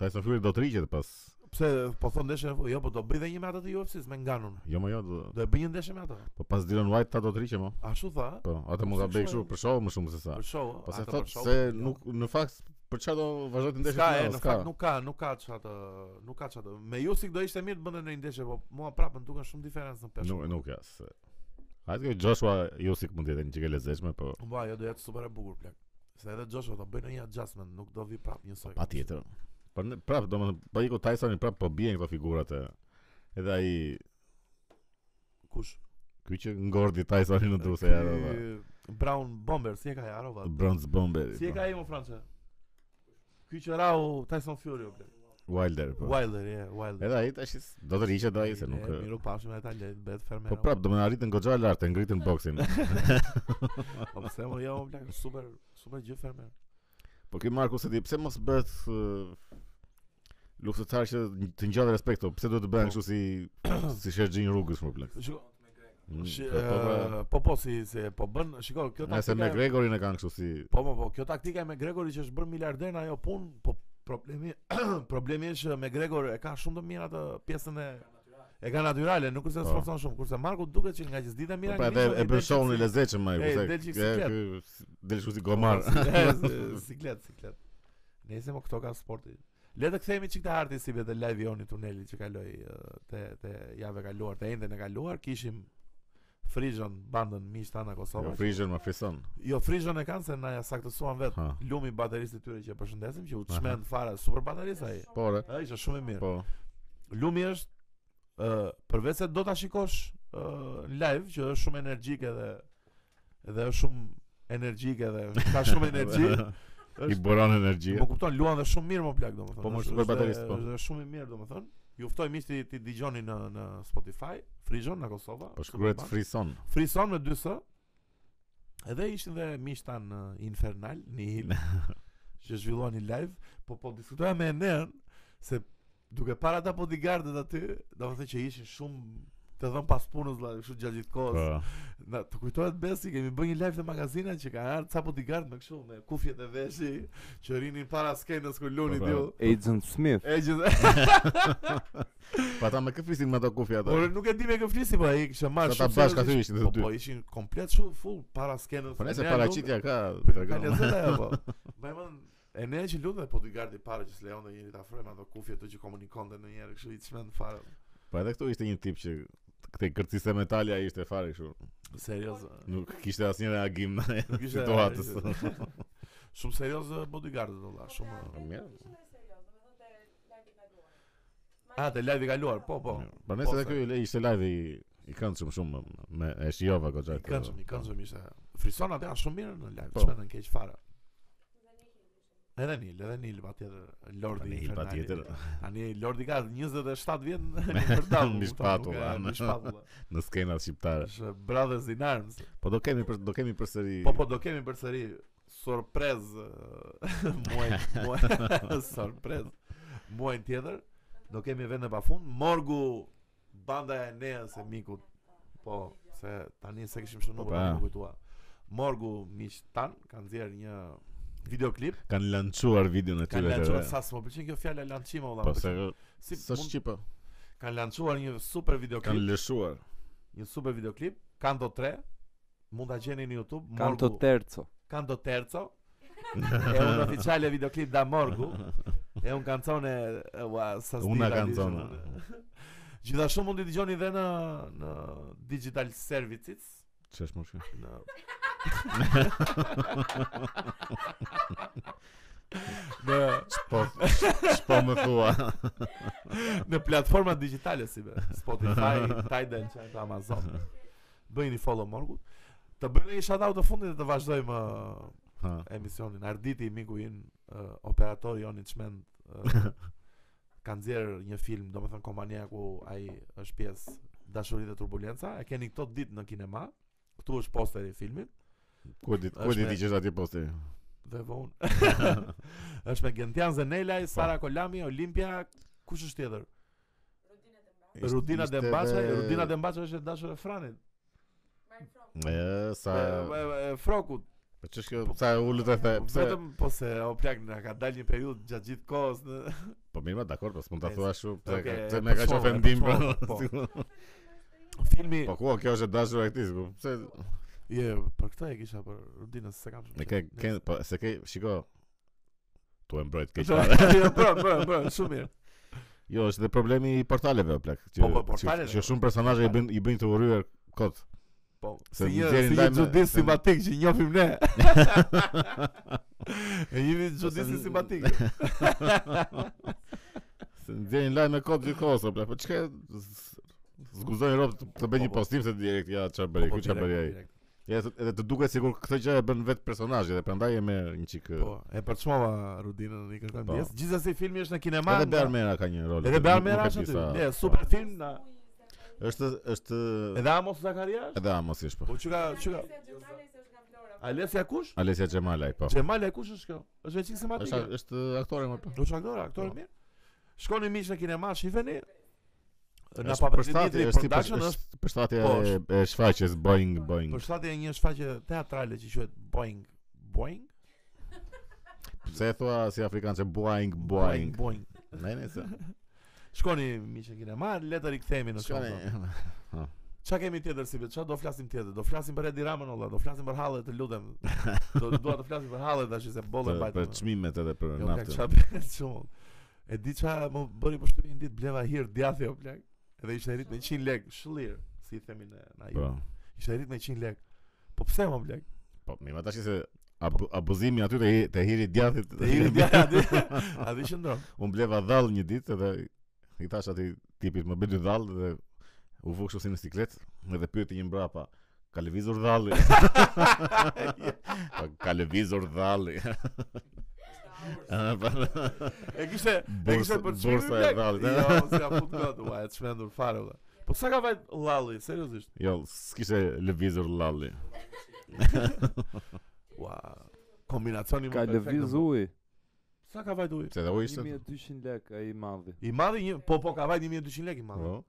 Tyson Fury do të riqet pas. Pse po thon ndeshje, jo po do bëj dhe një me atë të UFC-s me Nganun. Jo më jo, do, Do e bëj një ndeshje me atë. po pas Dylan White ta do të riqe më. Ashtu tha, ë? Po, atë mund ta Pse bëj kështu kështu e? për show më shumë se sa. për show. ë? Po se Atë thot për show, se jo. nuk në fakt për çfarë do vazhdoj të ndeshë Ska e, finalen, në fakt nuk ka, nuk ka çatë, nuk ka çatë. Me Jusik do ishte mirë të bënte në një ndeshje, po mua prapë më duken shumë diferencë në peshë. nuk nuk ja. se- Hajde që Joshua Jusik mund të jetë një çike lezetshme, po Mba, jo do jetë super e bukur plak. Se edhe Joshua do bëj në një adjustment, nuk do vi prapë njësoj. patjetër. Po ne- prap domethënë po iku Tysoni prap po bien këto figurat e edhe ai Kush? ky që ngordi Tysonin në duse ja. do, po. Ky Brown Bomber, si e ka Jarova? Bronze Bomber. Si e po. ka ai më francë? Ky që rau Tyson Fury o plak. Wilder. Po. Wilder, je, Wilder. Edhe ai tash is- do të riqet do ai se nuk. e, Miru pashim e ta lejt, bet fermer. Po prap do më arritën goxha lart, e ngritën boksin. Po pse mo jo, o plak, super, super gjë fermer. Po ky Marku se di pse mos bëhet ë, luftëtar që të ngjallë respekt, o, pse duhet të bëhen Po. kështu si si Sergin rrugës më plak. Shiko, Mm, shi- po, po, pra, e, po po si, si po bën, shiko, kjo Nëse me taktika e- Gregorin e kanë kështu si Po, po, po, kjo taktika e me Gregori që është bërë miliarder në ajo punë, po problemi problemi është që me Gregor e ka shumë të mirë atë pjesën e e ka natyrale, nuk kurse Po. sforcon shumë, kurse Marku duket që nga që s'ditë e Po mira. pra nga dhe një gjë, e i bën del që shohun i si- lezetshëm ai, e, del që i siklet. del kështu si gomar. Po, si- e, si- Siklet, siklet. Nëse më këto ka sporti. Le të kthehemi çik te harti si vetë eh, live joni tuneli që kaloi ë, te te javë e kaluar, te ende e kaluar, kishim Frizhën, bandën miq tana Jo, Kosovës. frizhen më frison. Jo, Frizhën e kanë se na ja saktësuan vet. Ha. Lumi bateristi i tyre që e përshëndesim që u Aha. çmend fare, super baterist ai. Po, re. Ai ishte shumë i mirë. Po. Lumi është ë përveç se do ta shikosh ë live që është shumë energjike dhe dhe është shumë energjike dhe ka shumë energji. I Është- boran energji. Më kupton, luan dhe shumë mirë më plak domethënë. Po, më Është- super është- baterist, po. Është shumë i mirë domethënë. Ju ftoj miq ti ti dëgjoni në në Spotify, Frizon në Kosova. Po Super shkruhet band. frison. Frison me 2S. Edhe ishin dhe miq tan uh, Infernal, Nihil, që zhvilluani live, po po diskutoja me Enern se duke para ata bodyguardet aty, domethënë që ishin shumë të dhëm pas punës vëlla, kështu gjatë gjithë kohës. Po. Na të kujtohet besi kemi bërë një live të magazinat që ka ardhur ca bodyguard me kështu me kufjet e veshi që rinin para skenës ku luni Po, po. diu. Agent Smith. E gjithë. Pa ta Po me kë frisin me ato kufi ato. Por nuk e di me kë flisi po ai kishte marrë. Sa ta shumë bashkë seriozisht. aty ishin të Po dy. po ishin komplet shumë full para skenës. Po nëse Ne paraqitja ka lutëm- Ka tregon. lezet ajo po. Bëjmë e ne që lutem po ti gardi para që s'lejon të njëri ta afroj me ato kufje ato që komunikonte në njëri kështu i çmend fare. Po edhe këtu ishte një tip që këtë kërcisë metali ai ishte fare kështu. Serioz. Nuk kishte asnjë reagim në Nuk ishte situatës. Shumë serioz bodyguardët valla, shumë. Mirë. A, te live i kaluar, po, po. Po nëse Po, edhe ky le- ishte live i i këndshëm shumë me e shijova goxha. I këndshëm, i këndshëm ishte. Frison atë janë shumë mirë në live, Po. çfarë në keq fare. Edhe Nil, edhe Nil patjetër, Lordi. Po, Tani infernali. patjetër Tani Lordi ka 27 vjet në Infernal. Mbi shpatulla, Mbi në. shpatulla. në skenat shqiptare. Është Brothers in Arms. Po do kemi për, do kemi përsëri. Po po do kemi përsëri surprizë eh, muaj muaj surprizë muajin tjetër do kemi vende pafund morgu banda e Eneas e mikut po se tani se kishim shënuar Po, po tani pra. më kujtua morgu miq tan kanë nxjerr një videoklip kanë lançuar videon e kanë tyre. të lançuar re. sa s'më pëlqen kjo fjalë lançima valla Po më se pëlqen. si sa mund- shqipa kanë lançuar një super kanë videoklip lëshuar. një super videoklip Kanto 3 mund ta gjeni në YouTube Kanto Morgu- Terco. Canto terzo è un ufficiale videoclip da Morgu è un canzone eh, ua, sa stila, Una canzone. diciamo. gjithashtu mund t'i dëgjoni dhe në në digital services Ç'është më shumë? në në, Po po më thua. në platforma digitale si be Spotify, Tidal, çfarë, Amazon. Bëjini follow Morgut. Të bëjmë një shoutout të fundit dhe të vazhdojmë eh, Ha. emisionin Arditi miku im uh, operator jon i çmend uh, ka nxjerr një film domethënë kompania ku ai është pjesë Dashuri dhe turbulenca e keni këto ditë në kinema këtu është posteri i filmit Ku e di ku e di ti Është po që është atje posti? dhe vonë është me Gentian Po. Zenelaj, Sara Kolami, Olimpia, kush është tjetër? Rudina Ishte Dembaça, dhe- Rudina Dembaça është e dashur e Franit, E, sa e, e, e Frokut. Po ç'është kjo? Sa e ulët e the? Pse? Vetëm po se o plak na ka dalë një periudhë gjatë gjithë kohës në Po mirë, ma, dakor, po s'mund ta Ej, thua ashtu, pse ka- ok, pse e më ka qenë përshova, ofendim. pra. përshova, po. filmi Po ku kjo është e dashur e këtij, po pse Je, për këtë e kisha për Rudinën se kam shumë. e ke qef. ke po se ke shiko tu e mbrojt keq. Jo, fare. bro, bro, bro, shumë mirë. Jo, është dhe problemi i portaleve o plak. që- Po, po, që- portalet, Që shumë personazhe i bëjnë i bëjnë të urryer kot. Po, Se si një nxjerrin si një lajme- xhudit se- simpatik që njohim ne. E jemi xhudit Ose- simpatik. Se nxjerrin lajme kot gjithkohës o plak. Po çka s- zguzojnë rob të- të bëjnë një Po, po. postim se direkt ja çfarë bëri, ku çfarë bëri ai. Ja, se- edhe të duket sikur këtë gjë e bën vetë personazhi dhe prandaj e merr një çik. Po, e përçmova Rudinën i kërkoj Po. ndjes. Gjithsesi filmi është në kinema. Edhe nga- Bear Mera ka një rol. Edhe nuk- Bear nuk e Mera di është aty. sa- po. Ne, super film na. Është është Edhe Amos Zakaria. është? edhe Amos ish po. Po çka çka Alessia kush? Alessia Xhemalaj po. Xhemala kush është kjo? Është veçik simpatik. jo? Është është aktore më po. Do çka aktorë, aktorë Po. mirë. Shkoni miq në kinema, shifeni. Na Është përshtatje, pa përshtatje, është si production përsh- është është përshtatje po, e- e shfaqjes Boeing Boeing. përshtatje e një shfaqje teatrale që quhet Boeing. Boeing? Pse e thua si afrikanë Boeing Boeing. Boeing. Ne ne se. Shkoni miq në kinema, le të rikthehemi në shkollë. Shkone. Çka kemi tjetër si vetë? Çfarë do flasim tjetër? Do flasim për Edi Ramën olla, do flasim për hallet, të lutem. Do dua të flasim për hallet tash se bollë Për- bajtë. Për çmimet edhe për Jo, plak, naftën. çfarë bën shumë. E di çfarë më bëri përshtypje jo, një ditë bleva hir djathi o plak. Edhe ishte rrit me 100 lekë, shëllir, si i themin ne, na ju. Po. Ishte rrit me 100 lek. Po pse më blek? Po, mi më tash se abu- abuzimi aty te hi- te hiri djathit. Te hiri djathti aty. A di qendron. Un bleva dhall një ditë dhe i thash aty tipit më bëj dy dhall dhe u vuk kështu si në siklet dhe pyeti një mbrapa ka lëvizur dhalli. Pa, ka lëvizur dhalli. Ah, pa- E kishte e kishte Bursa- për bursa e eh? vallit, e? Jo, si a fut kot, ua, e të shmendur fare. valla. Po sa ka vajt lalli, seriozisht? jo, s'kishte lëvizur dhalli. Ua. Kombinacioni më Ka perfekt, lëviz më. uji. Sa ka vajt uji? Se dhe u ishte. 1200 lek ai i madhi. I madhi një, po po ka vajt 1200 lek i madhi. Po.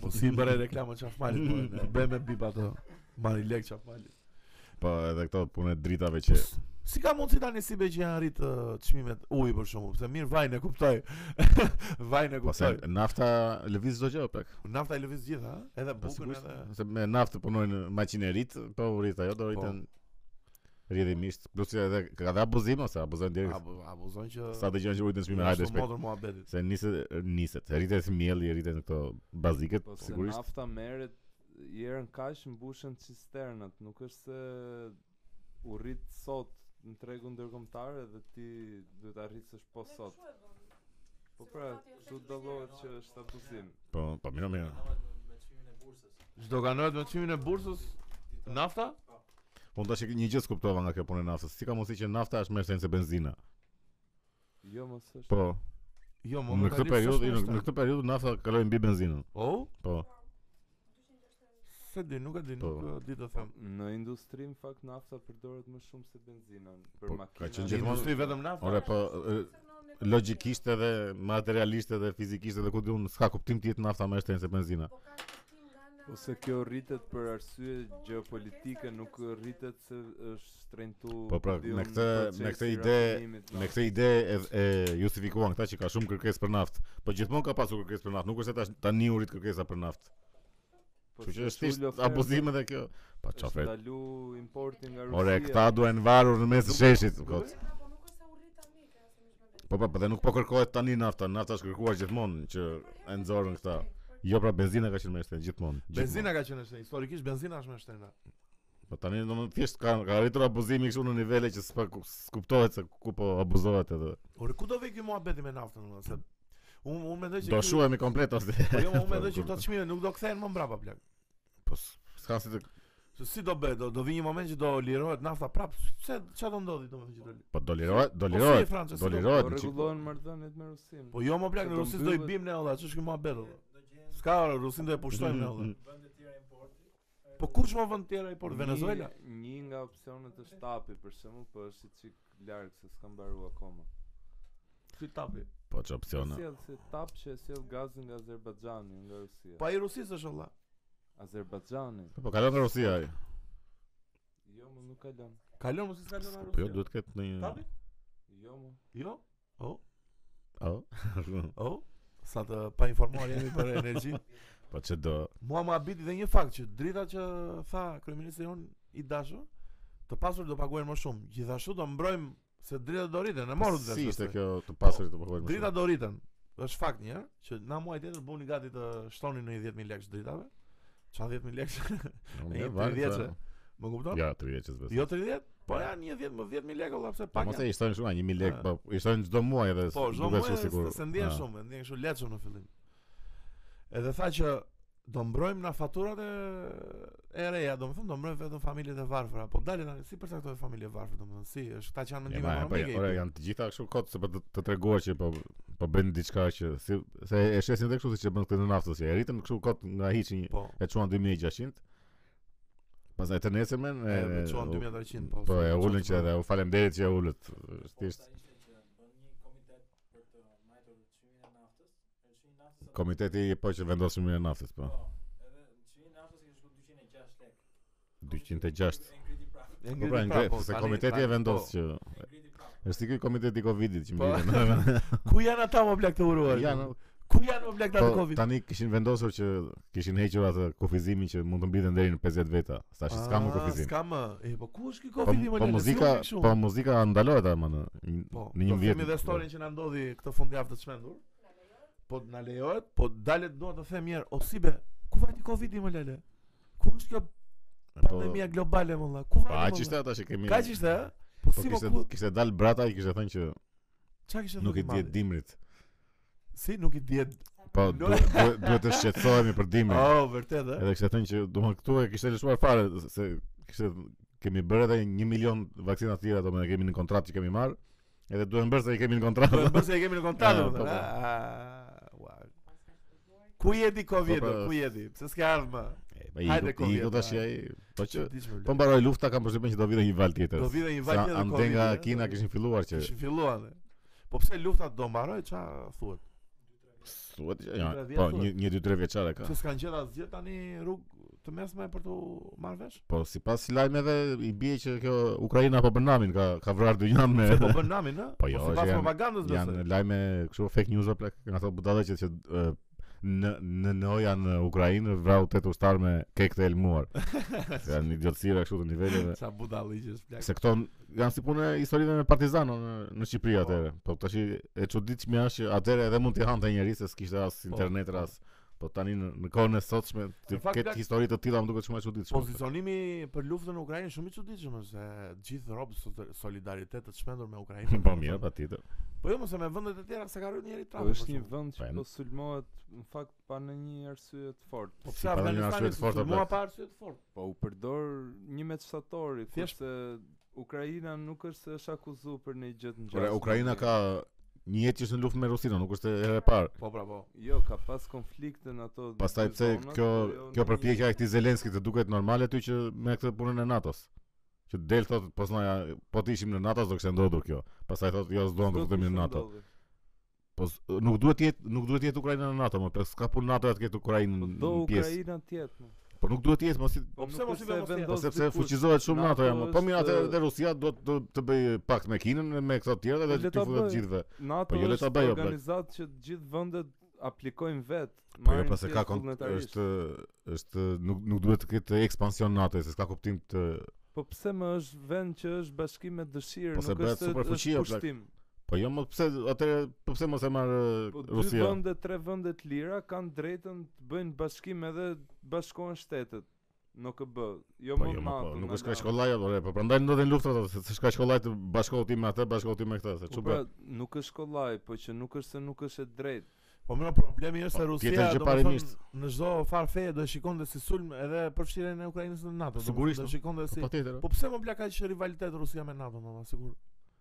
Po si i bëre reklamën çafmalit, po. e Bëj me bip ato. Mari lek çafmalit. Po, edhe këto punë e dritave që Si ka mundësi tani si be që janë rrit uh, çmimet uji për shkakun, se mirë vajin e kuptoj. vajin e Pastaj kuptoj. nafta lëviz çdo gjë plak. Nafta i Po lëviz gjitha, ha? edhe Po bukën sigurisht, edhe se me naftë punojnë maqinerit, po u rrit ajo, do rriten Po. rrjedhimisht. Plus që edhe ka dhe abuzim ose abuzojnë direkt. abu- abuzon që Sa dëgjojnë që u rritën çmime, hajde Ashtu shpejt. Modër muhabetit. Se niset niset, rritet mielli, rriten këto baziket, Po se sigurisht. nafta merret jerën kaq mbushen cisternat, nuk është se u rrit sot në tregun ndërkombëtar edhe ti duhet arritësh po sot. Po pra, kështu dallohet që është abuzim. Po, po mirë, mirë. Çdo kanohet me çmimin e bursës nafta? Unë tash një gjë skuptova nga kjo punë e naftës. Si ka mundësi që nafta është më e se benzina? Jo mos është. Po, Jo, më në më këtë tani periudhë, s'është në në nafta. këtë periudhë nafta kaloi mbi benzinën. Oh, Po, se di, nuk e di, Po. nuk e di të them. Në industri në fakt nafta përdoret më shumë se benzina për Po, ka makina. qenë Në gjithmonë- Industri vetëm nafta. ore po e, logjikisht edhe materialisht edhe fizikisht edhe ku diun s'ka kuptim ti jetë nafta më e shtrenjtë se benzina. Ose kjo rritet për arsye gjeopolitike, nuk rritet se është strengtu Po pra, me këtë- me këtë ide- Me këtë ide e, e justifikuan këta që ka shumë kërkesë për naftë, po gjithmonë ka pasur kërkesë për naftë, nuk është se tash tani u rrit kërkesa për naftë. Po Kështu që është thjesht abuzim edhe kjo. Pa Është çafet. dalu importi nga Rusia. Ore, këta duhen varur në mes të sheshit, kot. Po po, po dhe nuk po kërkohet tani nafta, nafta është kërkuar gjithmonë që e nxorën këta. Jo pra benzina ka qenë më e shtrenjtë gjithmonë. gjithmonë. Benzina ka qenë shtrenjtë, historikisht benzina është më e shtrenjtë. Po tani domethënë thjesht ka ka arritur abuzimi kështu në nivele që s'pa ku- s'kuptohet se ku po abuzohet edhe. Ore, ku do vë ky muhabeti me naftën, domethënë se unë unë mendoj që Do ky- shuhemi komplet ose. Po jo, unë mendoj që këto çmime nuk do kthehen më mbrapa plak. Po s- s'ka si të Se si do bëhet? Do, do vi një moment që do lirohet nafta prap. Se çfarë do ndodhi domethënë që do lirohet? po dolirohet, Po si e dolirohet. Franca, si do Dolirohet Po në qik- rregullohen marrëdhëniet me Rusin. Po jo më plak, Se në do Rusis do i mbyllet- bim ne olla, ç'është ky muhabet olla. S'ka ore, Rusin do e pushtojmë ne olla. Po kush më vend tjera i por Një- Venezuela? Një nga opsionet është tapi për shembull, po është i çik larg se s'ka mbaruar akoma. Si tapi. Po ç'opsione. opsione. Po sjell se tap që e sjell gazin nga Azerbajxhani, nga Rusia. Pa i Rusis është olla. Azerbajxhani. Po kalon në Rusi ai. Jo, më nuk ka lënë. Kalon mos i s'ka lënë Po jo Rusia. duhet këtë Tapi? një. Jo, më. Jo. Oh, Oh. oh. Sa të pa informuar jemi për energji. Po ç'do. do. Mua më habiti dhe një fakt që drita që tha kryeministri jon i dashur, të pasur do paguajnë më shumë. Gjithashtu do mbrojmë se drita do rriten, e morën Si ishte besoj. kjo të pasurit të pohojmë. Drita do rriten. Është fakt një herë që na muaj tjetër bëni gati të shtonin në 10000 lekë dritave. Çfarë 10000 lekë? e një 30 -çe. Më kupton? Ja, 30 çes besoj. Jo 30, po ja 10 më 10000 lekë valla pse Po pak. mos janë. e ishtojnë shumë, 1000 lekë, Ah. po ishtojnë çdo muaj edhe. Po, çdo duket muaj shumë sigur. se- se ndjen Ah. shumë, ndjen shumë lehtëshëm në fillim. Edhe tha që do mbrojmë na faturat e e reja, domethënë do mbrojmë vetëm familjet e varfra, po dalin tani si përcaktohet familje e varfra domethënë si është ta që janë E mendime ma, e, po, ekonomike. i ora pi. janë të gjitha kështu kot se po të, të treguar që po po bën diçka që si se e shesin edhe kështu siç e bën këtë në naftës, që e rritën kështu kot nga hiçi një- Po. e çuan 2600. Pastaj të nesërmen E me çon 2300 po. Po se e çon ulën të që bëjmë. edhe u falemderit që e ulët. Thjesht komiteti po që vendos çmimin e naftës, po. edhe çmimi i naftës ishte 206 lek. 206. E Po pra, ngriti prapë, ngre, po, se tani- komiteti e tani- vendos po. që është i ky komiteti i Covidit që më Po. vjen. Ku janë ata më blak të uruar? Janë, Ku janë më blak të Po, pra, Covid? tani kishin vendosur që kishin hequr atë kufizimin që mund të mbiten deri në 50 veta. Tash s'ka më Ah, kufizim. S'ka më. E po ku është ky Po, Covid më po lele? Si muzika, u vjen kështu? po muzika ndalohet ama në një- Po, në një do vit. themi dhe storin që na ndodhi këtë fundjavë të çmendur. Po na lejohet, po dalet dua të them një herë, o si be, Ku vajti Covidi më lele? Ku është kjo Po, pandemia globale më valla? Ku pa vajti? më aq ishte valla? ata që kemi. Kaq ishte, ë? Po Po si më kishte ku? kishte dal brata i kishte thënë që Çka kishte? nuk i thënë dihet Mali? dimrit. Si nuk i diet? Po No. duhet duhet- duhet të shqetësohemi për dimrin. Oh, vërtet ë? Edhe kishte thënë që domthon këtu e kishte lëshuar fare se kishte kemi bërë edhe 1 milion vaksina të tjera domethënë kemi në kontratë që kemi marr. Edhe duhet bërë se i kemi në Po kontratë. mbas e kemi në Eh, kontatë më po, po. thënë. ah, Wow. Ku jeti Covid? Po, po. Ku jeti? Pse s'ka ardhmë? E, po, i Hajde, ikut- i Covid, ikut tash a. ai. Po që po Po mbaroi lufta kam përshtypjen që do vijë një val tjetër. do vjen një Sa vajtë edhe ande Covid. nga ë? Kina kishin filluar që Kishin filluar. ë. Po pse lufta do mbaroj? Ça thuhet? thuhet që ja, Tre vjet po thuhet. një një dy tre vjeçare ka. Se s'kan gjetur asgjë tani rrugë të mesme për të marrë vesh? Po sipas lajmeve i bie që kjo Ukraina po bën namin ka ka vrarë dy janë me Se po bën namin, ë? Po jo, si që pas janë- propagandës janë besoj. lajme kështu fake news apo plak nga ato budalla që që e, në në në janë në Ukrainë vrau tet ushtar me kek të elmuar. janë idiotësira kështu të niveleve. Ça budalliqesh plak. Se këto n- janë si punë e historive me Partizano në në Shqipëri Po. atëherë. Po tash e çuditshme është që atëherë edhe mund t'i hante njerëz se s'kishte as Po, internet po. as Po tani në, në kohën e sotshme të Në fakt, ketë plak- histori të tilla më duket shumë e çuditshme. Pozicionimi për luftën në Ukrainë shumë i çuditshëm është se gjithë rob so- solidaritet të shpendur me Ukrainën. Po mirë, patjetër. Po jo, mose me vendet e tjera se ka rrit njëri Po trapë. është një vend që Po, po sulmohet në fakt pa në një arsye të fortë. Po Si, pse pa dhe një arsye Afganistani të të fortë, fortë? Mua plak. pa arsye të fortë. Po u përdor 11 shtatori, Thjesht- kurse Ukraina nuk është se është akuzuar për një gjë të Ora ngjashme. Ukraina ka një jetë që është në luftë me Rusinë, nuk është e herë e parë. Po pra po. Jo, ka pas konflikte në ato. dy Pastaj pse zonat, kjo po jo kjo në një- përpjekja e këtij Zelenskit të duket normale ty që me këtë punën e NATO-s. Që del thotë po s'na ja- po të ishim në NATO do kishte ndodhur kjo. Pastaj thotë jo s'duam të Çdo futemi kush në NATO. ndodhi. Po s- nuk duhet të jetë nuk duhet të jetë Ukraina në NATO, më pse s'ka punë NATO atë këtë Ukrainë Po do në pjesë. Ukraina tjetë. mo. Po nuk duhet të jetë mos i Po pse nuk mos i është se vendos Po vendos sepse dikush. fuqizohet shumë NATO ja, më. po mirë atë është- edhe Rusia do të të bëj pakt me Kinën me këto të tjera Po dhe le ti ta futet bëj. gjithëve. NATO jo, le ta është bëj, o blak. organizatë që të gjithë vendet aplikojnë vetë. Po jo, marrin pas e ka pjesë kon vullnetarisht. është është nuk nuk duhet të ketë ekspansion NATO, se s'ka kuptim të Po pse më është vend që është bashkim me dëshirë, Po se nuk bëhet është se superfuqi, është o blak. pushtim. Po jo, më pse atëre po pse mos e marr e, Po dy Rusia? vende, tre vende të lira kanë drejtën të bëjnë bashkim edhe bashkohen shtetet në KB, jo Po më jo, më po, NATO. nuk nga është ka nga- shkollaj apo po prandaj ndodhen lufta ato, se s'ka shkollaj të bashkohu ti me atë, bashkohu ti me këtë, se Po çu pra, bë. nuk është kollaj, po që nuk është se nuk është e drejtë. Po më problemi është se Po, Rusia tjetër gjë do të parimisht. thonë në çdo farë feje do e shikonte si sulm edhe përfshirjen e Ukrainës në NATO. do të thonë, Sigurisht, do po. e shikonte si. Po tjetër. Po pse më bla kaq rivalitet Rusia me NATO, më sigur.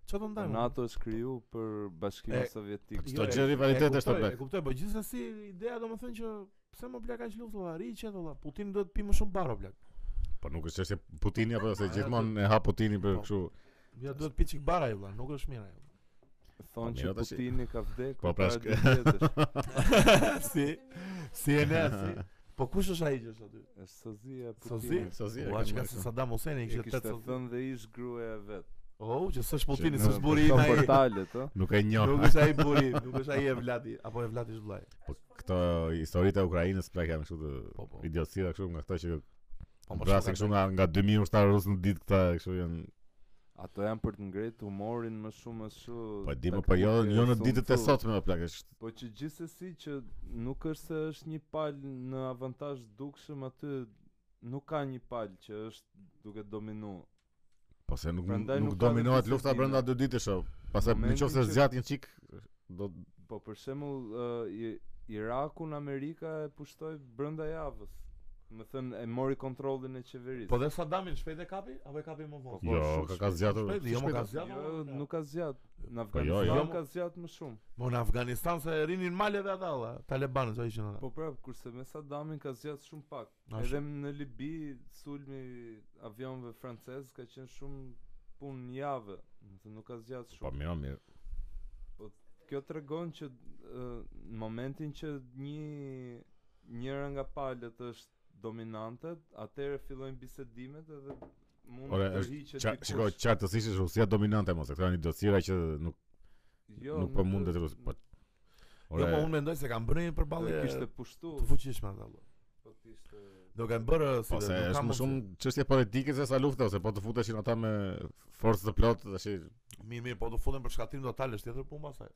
Çfarë do ndajmë? NATO është kriju për bashkimin E, sovjetik. Çdo jo, e- gjë rivalitet është e apo. kuptoj, E kuptoj, po gjithsesi ideja domethënë që pse më bla kaq luftë valla, ri qet valla. Putin duhet të pi më shumë baro bla. Po nuk është çështje Putini apo se Po, Ajo gjithmonë e ha Putini për Po. kështu. Ja duhet të pi çik bara ai valla, nuk është mirë ai. Thonë Po që mirë, tash- Putini ka vdekur. Po, pra, para shk- dy vjetësh. si si e ne si. Po kush është ai që është aty? Është sozia e Sozi? Putinit. Sa zi. e Ua, kam po, që ka marrë si këtu. Saddam Hussein i E kishte kishte tetë. thënë dhe ish gruaja e vet. Oh, që s'është Putini, Që s'është në- buri ai. Portalet, ë? Nuk e njoh. Nuk është ai buri, nuk është ai e Vladi, apo e Vladi është vllai. Po këto historitë e Ukrainës plak janë kështu Po, po. të idiotësira kështu nga këto që Po më vrasin kështu nga nga 2000 ushtarë rusë në ditë këta kështu janë Ato janë për të ngritur humorin më shumë ashtu. Po e di më taktike, po jo jo në Sun ditët e Tzu. sotme apo plak është. Po që gjithsesi që nuk është se është një pal në avantazh dukshëm aty nuk ka një pal që është duke dominu. Po se nuk Prandaj nuk nuk ka dominohet dhe lufta disciplinë. brenda dy ditësh. o. Pastaj Momentin nëse që- zgjatin çik do Po për shembull ë, I- Irakun Amerika e pushtoi brenda javës. Më thënë e mori kontrollin e qeverisë. Po dhe Saddamin shpejt e kapi apo e kapi më vonë? jo ka ka zgjatur. Shpejt, jo më ka shpejt- zgjatur. jo, mo, nuk ka zgjat. Në Po jo, Afganistan jo. ka zgjat më shumë. Mo në Afganistan se rinin maleve ata valla, talebanët që ishin ata. Po prap, kurse me Saddamin ka zgjat shumë pak. Na Edhe shumë. në Libi sulmi avionëve francez ka qenë shumë punë një javë, do të thënë nuk ka zgjat Po shumë. mirë, mirë. Kjo tregon që ë, në momentin që një njëra nga palët është dominante, atëherë fillojnë bisedimet edhe mund Ore, të është tërhiqet Qa- dikush. Shikoj qartësisht është Rusia dominante mos, këto janë idocira që nuk jo, nuk po mundet Rusia. Po. Jo, po Ore, unë mendoj se kanë bërë një përballje e kishte të pushtu, fuqishme ata valla. po të ishte Do kanë bërë si po do, se nuk ka është më mundsi. shumë çështje politike se sa lufta ose po të futeshin ata me forcë të plotë tash mirë mirë, po do futen për shkatrim total është tjetër punë pastaj.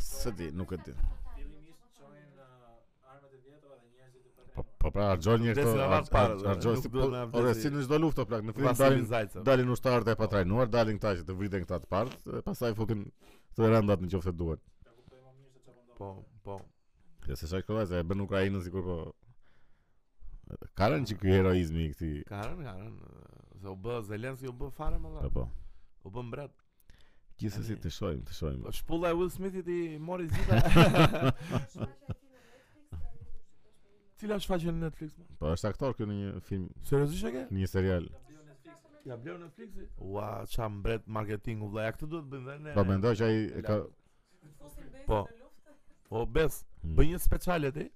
se di, nuk e di. fillimisht çonin uh, armët e vjetra dhe njerëzit po pra harxhon një këto. Vdesin avat parë, dhe, Harxhon nuk si po- duhet na vdesi- Ore si në çdo luftë o plak, në fillim dalin dalin ushtarët e patrajnuar, dalin këta që të vriten këta të parë, e pastaj futin të rëndat në qoftë se duhet. Po, po. Ja se sa kollaj e bën Ukrainën sikur po Karën që ky heroizmi i këtij. Karën, karën. Se u bë Zelenski u bë fare më Po dha. po. U bë mbret. Gjithsesi Tani- të shohim, të shohim. Po shpulla e Will Smithit i mori zita. Cila është faqja në Netflix? mo? Po është aktor këtu në një film, Seriozisht e ke? në një serial. Ja bleu Netflixi? Ua, çam mbret marketingu vëlla. Ja këtë duhet bëjmë dhe ne. Po mendoj që ai e ka Po. Po bes, Hmm. bëj një speciale ti.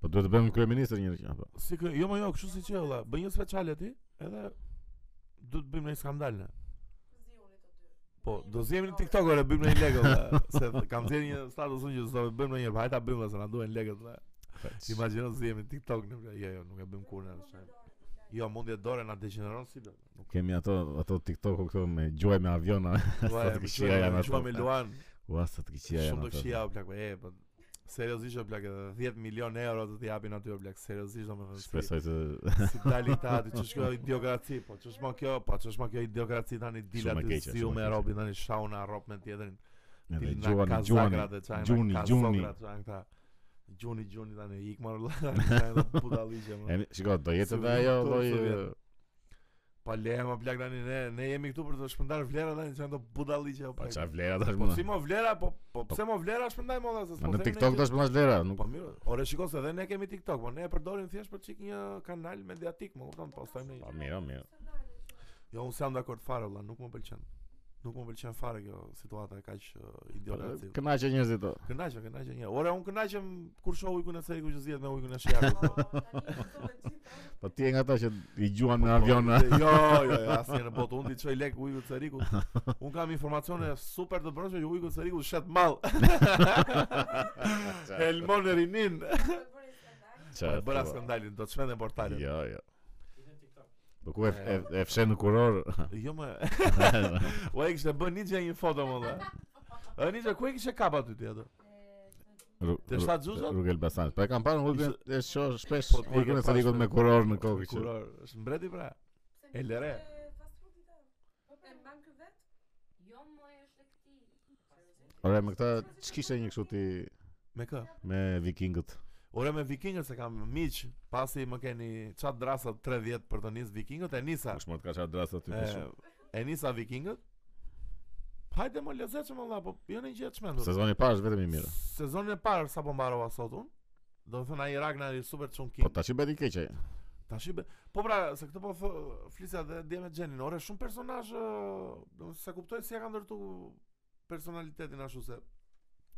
Po duhet të bëjmë kryeministër një gjë apo. Si kë, jo më jo, kështu si që vëlla, bëj një speciale ti, edhe do të bëjmë një skandal ne. Po, do zjemi në TikTok ore bëjmë një legë vëlla, se kam thënë një status unë që do të bëjmë një, po, hajta bëjmë vëlla, se na duhen legët vëlla. Imagjino zjemi në TikTok ne, vëlla. jo jo, nuk e bëjmë kurrë ne. s'e. Jo, mundje dore na degeneron si do. Nuk Kemi ato ato TikTok këto me gjuaj me aviona. Ua, Sa të e, këqija më janë quaj- ato. më quaj me Luan. Ua sa të këqija janë. Shumë të ato. këshia o plak, po, e, po. Seriozisht o plak, edhe 10 milion euro do t'i japin aty o plak, seriozisht domethënë. si- Shpresoj të si dalin ta aty, ç'është kjo idiokraci, po ç'është më kjo, po ç'është më kjo idiokraci tani dila Shumë e të keqe, siu shumë e me keqe. robin tani shauna rop me tjetrin. edhe dilin na gjuani, gjuani. kazakrat e çajna, gjuni, gjuni. kazokrat, çajna këta. Gjuni, gjuni tani ik marr valla, budalliqe E më. mi- shiko, do jetë Si edhe u ajo kupton, lloj se e, vjen. Pa leja më plak Po, tani ne, ne jemi këtu për të shpëndar vlera tani çajna do budalliqe apo. pa çfarë vlera tash Po më. si më vlera, po po pse më vlera shpëndaj më valla se Ma Në themi ne TikTok që- tash më as vlera, nuk Po mirë, ore shiko se edhe ne kemi TikTok, po ne e përdorim thjesht për çik një kanal mediatik, më kupton, postojmë ne. Po mirë, o, mirë. Jo, unë s'jam dakord fare valla, nuk më pëlqen. Nuk më pëlqen fare kjo situata e kaq uh, idiotësi. Kënaqë Po, njerëzit to. Kënaqem, kënaqem një. Ore, unë kënaqem kur shoh ujkun e Seriku që zihet me ujkun e Shijakut. Po ti je nga ata që i gjuan me Po, aviona. dhe- Jo, jo, jo, asnjë në botë. Unë di çoj lek ujkut e Serikut. Unë kam informacione super të brendshme që ujku i Serikut shet mall. Elmon e rinin. Po e Çfarë bëra thua? skandalin, do të shmendën portalet. Jo, jo. Po ku e e, e fshen në kuror? Jo më. Ua e kishte bën një një foto më dha. Ë Nixha, ku e kishe kap aty ti atë? Rru- Te shtat zuzat? Rrugë Elbasan. Po e kam parë ulën e shoh shpesh Po, ti e ulën ke e Salikut pas, me shpesh. kuror në kokë. që- Kuror, është mbreti pra. Elere. É Jo, më është e këtij. Ore me këta ç'kishte një kështu ti Me kë? me vikingët. Ore me vikingët se kam miq, pasi më keni çat drasa 30 për të nis vikingët, e nisa. Kush më të ka çfarë drasa ty për E, shumë. e nisa vikingët. Hajde më lezetshëm valla, po jo në gjë të çmendur. Sezoni pas vetëm i mirë. Sezonin e parë sa po mbarova sot unë. Do të thënë ai Ragnari super Po çunkin. tash i bëti keq ai. Tash i be... Po pra, se këtë po thë, flisja dhe dje me Gjenin, ore, shumë personazh, ë, do se kuptoj si e ka ndërtu personalitetin ashtu se.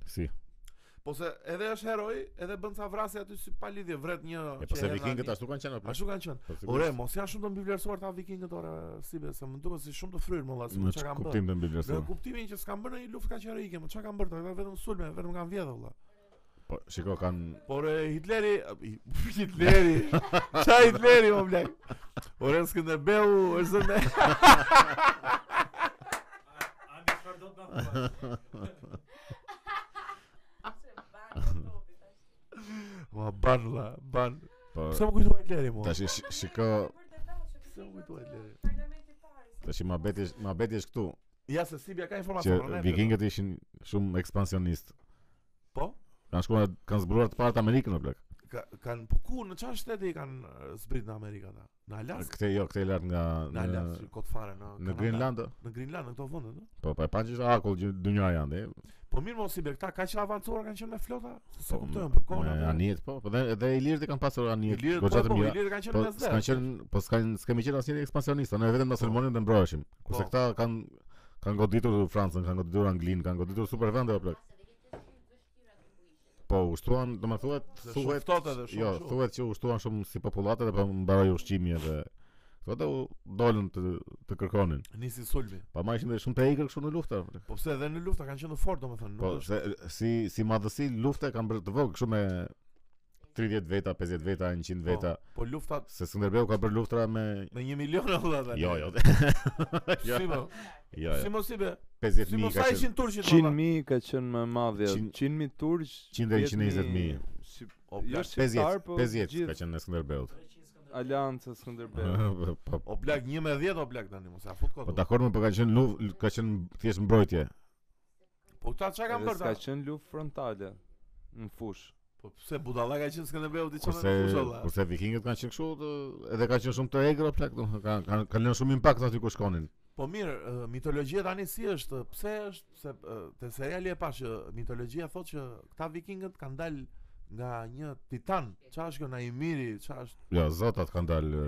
Si. Po se edhe është heroj, edhe bën ca vrasje aty si pa lidhje, vret një E po që se herë vikingët nga- ashtu kanë qenë. apo? Ashtu kanë qenë. Po, sigurisht. Ore, mos janë shumë të mbivlerësuar ta vikingët ore, si be, se më duket si shumë të fryrë më valla, si Në çka që kanë bërë. kuptim të mbi Në kuptimin që s'kan bërë një luftë kaq heroike, më çka kanë bërë, ata vetëm sulme, vetëm kanë vjedhë valla. Po, shiko, kanë... Por e, Hitleri, Hitleri. Ça Hitleri më blek. Ore Skënderbeu është zënë. é tá? Ma Po, ban la, ban. Po, Pse më kujtohet Hitleri mua? tash i shi- shiko... é Pse më kujtohet Hitleri? Tash i ma beti është ma beti është këtu, Ja se Sibia ka që informacion për ne. vikingët ishin shumë ekspansionist. Po? Kanë shkuar, kanë zbruar të parët Amerikën, o plak. Ka, kanë po ku në çfarë shtete i kanë eh, zbrit në Amerika ata? Në Alaska, Këte jo, këte lart nga... në Alaska, kot fare Në në po, Kanada, Greenland, Në Greenland, në këto vende, ëh. po pa e panë që është akull gjë dynja janë, e. Po mirë mos Sibia, këta kaq avancuar kanë qenë me flota, se Po, kuptojnë për kohën. me atë. Anijet, po, po dhe edhe Ilirët e kanë pasur anijet, Ilirët, po, goxha të po, mira. Ilirët kanë qenë Po, mes dhe. s'kan qenë, po s'kan s'kemi qenë asnjëri ekspansionista, ne vetëm na sulmonin dhe mbroheshim. Kurse Po. këta kanë kanë goditur Francën, kanë goditur Anglinë, kanë goditur super vende o plak. Po, ushtruan, do më thuhet, Dhe shumë thuhet ftohtë edhe shumë Jo, kështu. thuhet që ushtuan shumë si popullate dhe po mbaroi ushqimi edhe Thuhet u dolën të të kërkonin. Nisi sulmi. Pa më ishin dhe shumë të egër kështu në lufta. Po pse edhe në lufta kanë qenë të fortë domethënë, Po nuk është. se si si madhësi lufta e kanë bërë të vogël kështu me 30 veta, 50 veta, 100 veta. Po luftat Se Skënderbeu ka bërë luftra me me 1 milion valla tani. Jo, jo. jo, Si më, jo, si jo. mos i be. Si 50 mos mijë sa ka ishin qenë. turqit valla. 100.000 ka qenë më madhja. Qin- 100.000 turq, 100 deri 120.000. Shqip... O, Jo plak, shqiptar, 50, po 50 ka gjithë qenë në Skënderbeut. Alianca Skënderbeu. Po o plak 11 o plak tani, mos e fut po kot. dakor më po ka qenë luv, ka qenë thjesht mbrojtje. Po ta çka kam Edhe bërë? s'ka ta? qenë luftë frontale në fush. Po pse budalla ka qenë Skënderbeu diçka me Kurse fusholla? kurse vikingët kanë qenë kështu të- edhe kanë qenë shumë të egra plak, do kanë kanë kanë lënë shumë impakt aty ku shkonin. Po mirë, ë, mitologjia tani si është? Pse është se ë, te seriali e pash që mitologjia thotë që këta vikingët kanë dalë nga një titan. Çfarë është kjo Naimiri? Çfarë është? Jo, zotat kanë dalë.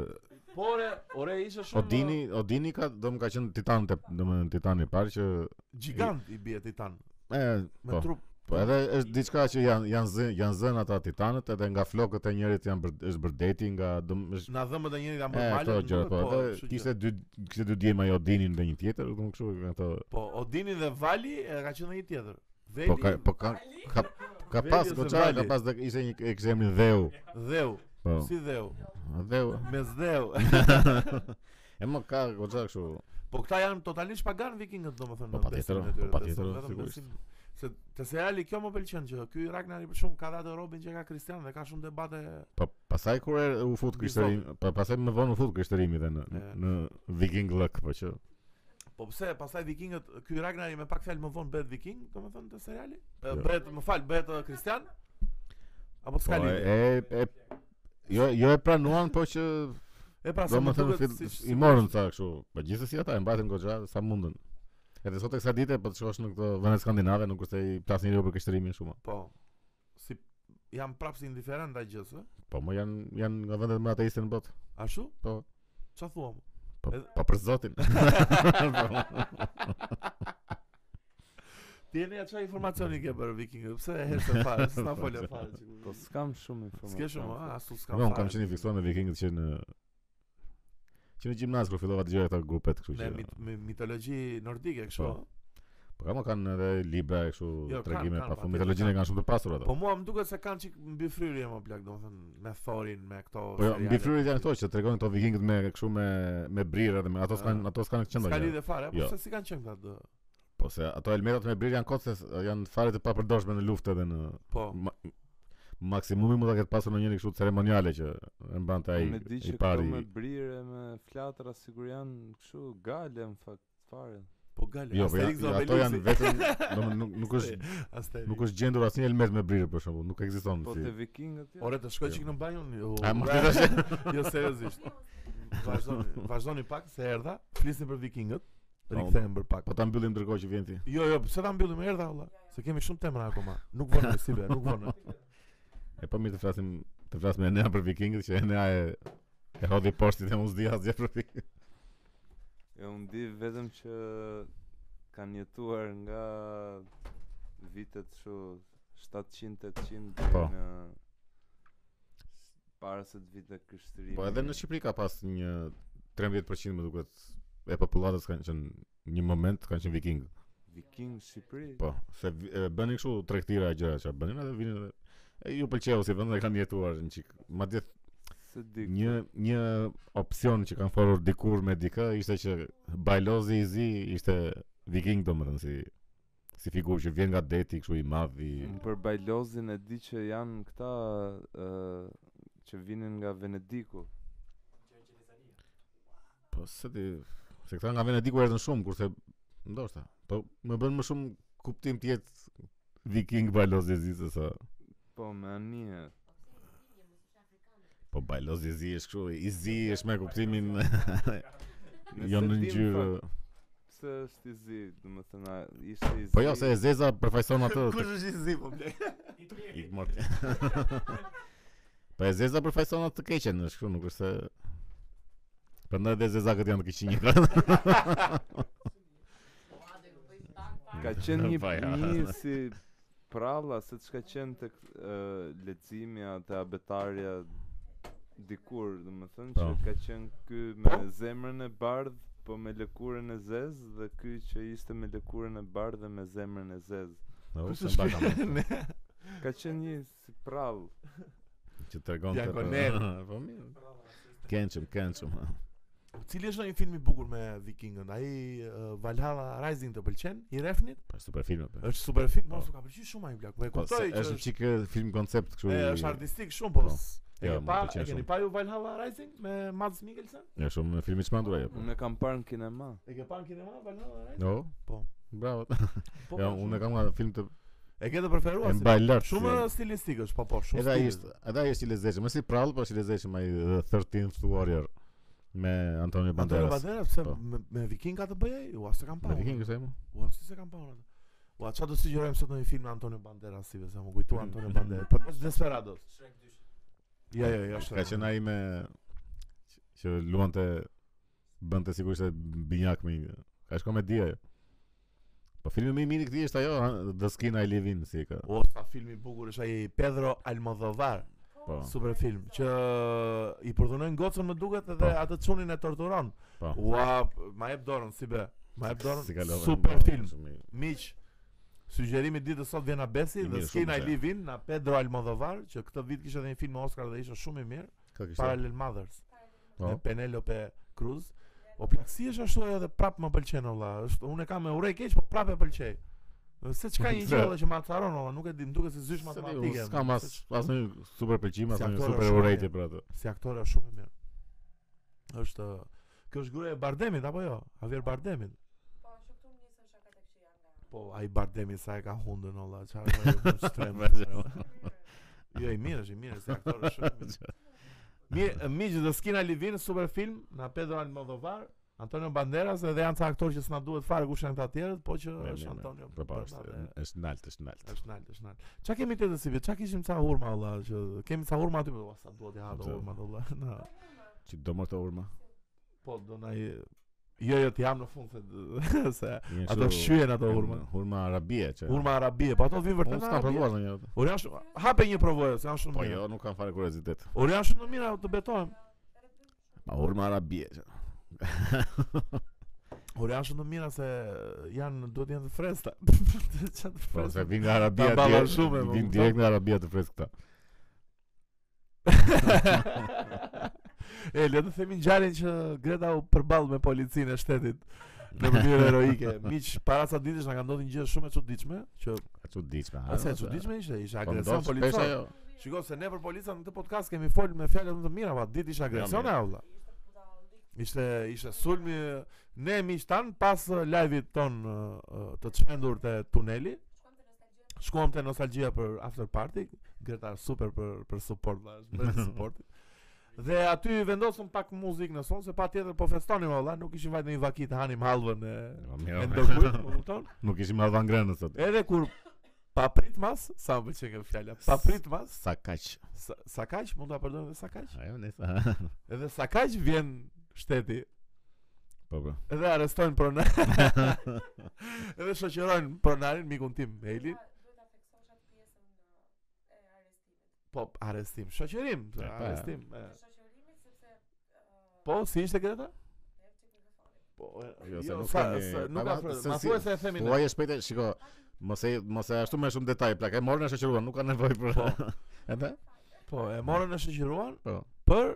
Por ore ishte shumë Odini, Odini ka dom ka qenë titan, te- domethënë titani i parë që ë, gjigant i bie titan e me po. trup. Po edhe është diçka që janë janë zën, janë zënë ata titanët edhe nga flokët e njërit janë bër, është bërdeti nga dëm është Na dhëmbët e njëri janë e bërë ato malë. gjë po. kështu Edhe që- kishte dy kishte dy djema jo dinin dhe një tjetër, domthon kështu ato. Po Odini dhe Vali e ka qenë një tjetër. Veli Po ka po ka ka, ka Veli pas ose goca, ka Vali? pas dhe ishte një e kishte emrin Dheu. dheu, Po. si dheu, Dheu. mes dheu. e më ka goca kështu. Po këta janë totalisht pagan vikingët domethënë. Po, në patjetër, besimin e tyre, po, patjetër, besim- vetëm sigurisht. besim- Se te seriali kjo më pëlqen që ky Ragnari për shumë ka dhënë robin që ka kristian dhe ka shumë debate. Po pastaj kur e u fut krishtërimi, po pastaj më vonë u fut krishterimi dhe në E. në Viking Luck, po që Po pse pastaj vikingët ky Ragnari me pak fjalë më vonë bëhet viking domethënë te seriali? Jo. Jo. Bëhet, më fal, bëhet eh, kristian? Apo po s'ka lidhje? e e jo jo e pranuan, po që E pra se Do më më thënë, duket fill- siç- i morën ca kështu, po gjithsesi ata e mbajtën goxha sa mundën. Edhe sot e kësaj dite po të shkosh në këto vende skandinave, nuk është i plas njeriu për kështërimin shumë. Po. Si jam prapë si indiferent ndaj gjës, ë? Po më janë janë nga vendet më ateiste në botë. Ashtu? Po. Çfarë thuam? Po Edhe- po për zotin. Ti jeni atë informacioni ke për vikingët? Pse e heshtën fare? S'na folë fare. që- Po s'kam shumë S'ke informacion. shumë, a, asu s'kam Unë fare. kam qenë i fiksuar me vikingët që në që në gjimnaz kur fillova të dëgjoj ato grupet kështu Me që. mit, me mitologji nordike kështu. Po. Po kam kanë edhe libra kështu Jo, kanë, tregime kanë, pa po, fund. atje Mitologjinë kanë. kanë shumë të pasur ato. Po mua më duket se kanë çik mbi fryrje më plak, domethënë me Thorin, me këto Po jo, mbi fryrit janë këto që tregojnë këto vikingët me kështu me me brirë dhe me ato s'kan Ah. ato s'kan qenë Ska ndonjë. lidhje fare, Jo. po se si kanë qenë këta? dë? Po se ato helmetat me brirë janë kot se s- janë fare të papërdorshme në luftë edhe në Po. ma, maksimumi mund ta ketë pasur në njëri kështu ceremoniale që e mbante ai Unë e di i që këto pari. Po me brire, me flatra sigur janë kështu gale në fakt fare. Po gale. Jo, po janë, dhe ato janë Obelixi. vetëm, domethënë nuk nuk është Asterix. nuk është gjendur asnjë helmet me brirë për shembull, nuk ekziston Po te si. vikingët janë. Ore të shkoj çik në banjë unë. jo, A mos ura, të tash. Jo seriozisht. Vazhdoni, vazhdoni pak se erdha, flisni për vikingët. Po, Rikthehem për pak. Po ta mbyllim ndërkohë që vjen ti. Jo, jo, pse ta mbyllim erdha valla? Se kemi shumë temra akoma. Nuk vonë si be, nuk vonë. E po mirë të flasim të flasim me Enea për vikingët që Enea e e hodhi poshtë dhe mos di asgjë për vikingët. E Jo, unë di vetëm që kanë jetuar nga vitet kështu 700-800 deri Po. në para se të vitë krishterimi. Po edhe në Shqipëri ka pas një 13% më duket e popullatës kanë qenë një moment kanë qenë vikingë. Viking Shqipëri. Po, se vi- e, bënin kështu tregtira e gjëra që bënin edhe vinin edhe e, ju pëlqeu si vend dhe kanë jetuar një çik. Madje Se di. një një opsion që kanë folur dikur me dikë ishte që Bajlozi i Zi ishte viking domethënë si si figurë që vjen nga deti kështu i madh i Unë për Bajlozin e di që janë këta ë që vinin nga Venediku. po se ti se këta nga Venediku erdhën shumë kurse ndoshta po më bën më shumë kuptim të jetë viking Bajlozi i Zi se sa Po me anije. po Bajlozi i Zi është kështu i Zi është me kuptimin Ne jo se në dim, ngjyrë fakt, Pse është i zi, do më thëna, ishte i zi. Po jo, se e Zeza përfaqëson atë. Kush është i zi po blej? Ik mort. Po e Zeza përfaqëson atë të keqen, është kështu, nuk është se Prandaj dhe Zezakët janë të keqinj. Ka qenë një Po, ja. një si pralla se çka qenë tek uh, leximja te abetarja dikur, do më thënë që Po. ka qenë ky me Po. zemrën e bardh po me lëkurën e zezë dhe ky që ishte me lëkurën e bardh dhe me zemrën e zezë. Po Kush se është mbajta më, Ne- Ka qenë një si prall. që tregon të Diagonel. Po mirë. Kençëm, kençëm. Cili është ndonjë film i bukur me vikingën? Ai uh, Valhalla Rising të pëlqen? I refnit? Pa Po, super film apo. Është super film, Po. mos u ka pëlqyer shumë ai blaq. Po e Po, se kuptoj që është është çik eh, film koncept kështu. e, i- është artistik shumë, Po. po. s- E Jo, ke më pa, pëlqen e keni shumë. pa ju Valhalla Rising me Mads Mikkelsen? Është shumë film i jo, po. çmendur Po. ai apo. Unë e kam parë në kinema. E ke pa në kinema Valhalla Rising? Jo. Po. Bravo. Po. Jo, po, shumë. unë e kam nga film të E ke të preferuar? e si- mbaj lart. Shumë si- stilistik është, po po, shumë. Edhe ai stil. është, edhe ai është pra, i lezetshëm, është i prall, por është i lezetshëm ai The 13th Warrior me Antonio Antonio Banderas. Banderas, pse Po. me, me viking ka të bëjë ai? Ua, s'e kam pa. Me viking është ai më? Ua, si se kam pa unë. atë? Ua, çfarë do sugjerojmë sot në një film me Antonio Banderas, si se më kujtu Antonio Banderas. Po është Desperados. Jo, jo, jo, Ka qenë ai me që luante bënte sigurisht se binjak me një- ka shko me di ajo. Po filmi më i mirë i këtij është ajo The Skin I Live In si e ka. O, sa film i bukur është ai Pedro Almodovar, Po. super film që i përdhunojnë gocën më duket edhe Po. atë çunin e torturon. Po. Ua, ma jep dorën si be. Ma jep dorën. Si kalove, Super po, film. shumë i- Miq, sugjerimi ditës sot vjen Abesi I dhe mirë, Skin shumë I se. Live In na Pedro Almodovar, që këtë vit kishte dhe një film me Oscar dhe ishte shumë i mirë, Ka kishte. Parallel Mothers, Po. me Penelope Cruz. O plak, si është ashtu ajo dhe prap më pëlqen olla. Është unë e kam me urej keq, po prap e pëlqej. Se çka një gjë olla që ma atëron olla, nuk e di, më duket se Se di, zysh matematike. unë S'kam as se ç- asnjë super pëlqim, Si asnjë aktor super është urejtje shumë për atë. Si aktore është shumë e mirë. Është Kjo është gruaja e Bardemit apo jo? Javier Bardemit. Po, ai Bardemi sa e ka hundën olla, çfarë do të strem. Jo, i mirë është, i mirë, si aktor është shumë i mirë. Mirë, miq do skina Livin, super film, na Pedro Almodovar, Antonio Banderas edhe janë ca aktorë që s'na duhet fare kush janë këta tjerët, po që Me- me- është me. Antonio. Po po, është Banderas. është nalt, është nalt. Është nalt, është nalt. Çka kemi tjetër si vetë? Çka kishim ca hurma olla që kemi ca hurma aty, po sa duhet ja ato Po. hurma olla. Na. Çi do mërë të urma. Po do na i- Jo, jo, ti jam në fund se se Jenë ato kështu- shyen ato hurma. Hurma arabie që. Hurma arabie, po ato vin Unë vërtet nga s'kam Arabia. provuar ndonjë. atë. Unë janë shumë, hape një provoje, se janë shumë Po mira. jo, nuk kam fare kuriozitet. Unë janë shumë të mira, të betohem. Ma hurma arabie që. Unë janë shumë të mira se janë, duhet janë të fresta. Çfarë të Po se fresta? vin nga Arabia Ta balla direkt- shumë, e, po, Vin kupton? direkt nga Arabia të freskë këta. e, le të themi ngjarjen që Greta u përball me policinë e shtetit në mënyrë heroike. Miq, para sa ditësh na ka ndodhur një gjë shumë e çuditshme, që E çuditshme. a, asaj se- çuditshme ishte, ishte Po agresion ndoshta shpesh policor. ajo. Shikoj se ne për policën në këtë podcast kemi fol me fjalë më të mira, pa ditë ishte agresione mirë. olla. Ishte ishte sulmi ne miq tan pas uh, live-it ton uh, uh, të çmendur te tuneli. Shkuam te nostalgjia për after party, Greta super për për support dash, për support. Dhe aty vendosëm pak muzikë në son, se pa tjetër po festonim olla, nuk ishim vajt në një vaki të hanim halvën e, Po e mirë. ndërkujt, po kupton? Nuk ishim në avangrenën sot. Edhe kur pa prit mas, sa më pëlqen kjo fjala, pa prit mas, Sa kaq. sa, sa kaq mund ta përdorim edhe sa kaq? Ajo ne sa. Edhe sa kaq vjen shteti Po po. Edhe arrestojnë pronar Edhe shoqërojnë pronarin mikun tim Helin Po arrestim Shoqërim E, pa. Arrestim e. Po si ishte Greta? Po e, Jo, se nuk sa- kemi- sa- Nuk ama ka frë se Ma si- thuaj se e themi Po ne ajo shpejt, shiko. Mos e mos e ashtu me shumë detaj plak. E morën e shoqëruan, nuk ka nevojë për. Po. Edhe? Po e morën e shoqëruan Po. Për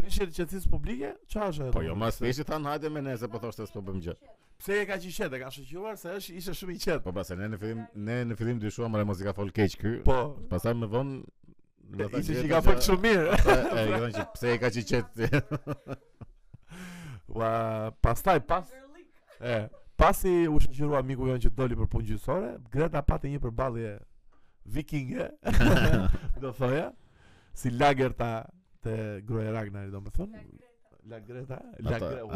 Prishje të qëtësisë publike Qa është ajo? Po jo, mas veshi than hajde me ne se po thoshte s'po bëm gjë. Pse e ka qishet E ka shoqëruar se është ishte shumë i qetë Po pastaj ne në fillim ne në fillim dyshuam ale mos i ka fol keq ky. Po Pastaj më vonë do ta Ishte që i gjeta ka fëtë shumë mirë E, e, i thonë që pse e ka që qetë Ua, pastaj pas e, pasi u shoqërua miku jon që doli për punë gjyqësore, Greta pati një përballje vikinge, do thoja, si lagerta te gruaja e Ragnarit, domethënë. La Greta, la Ata- Greta. Ua,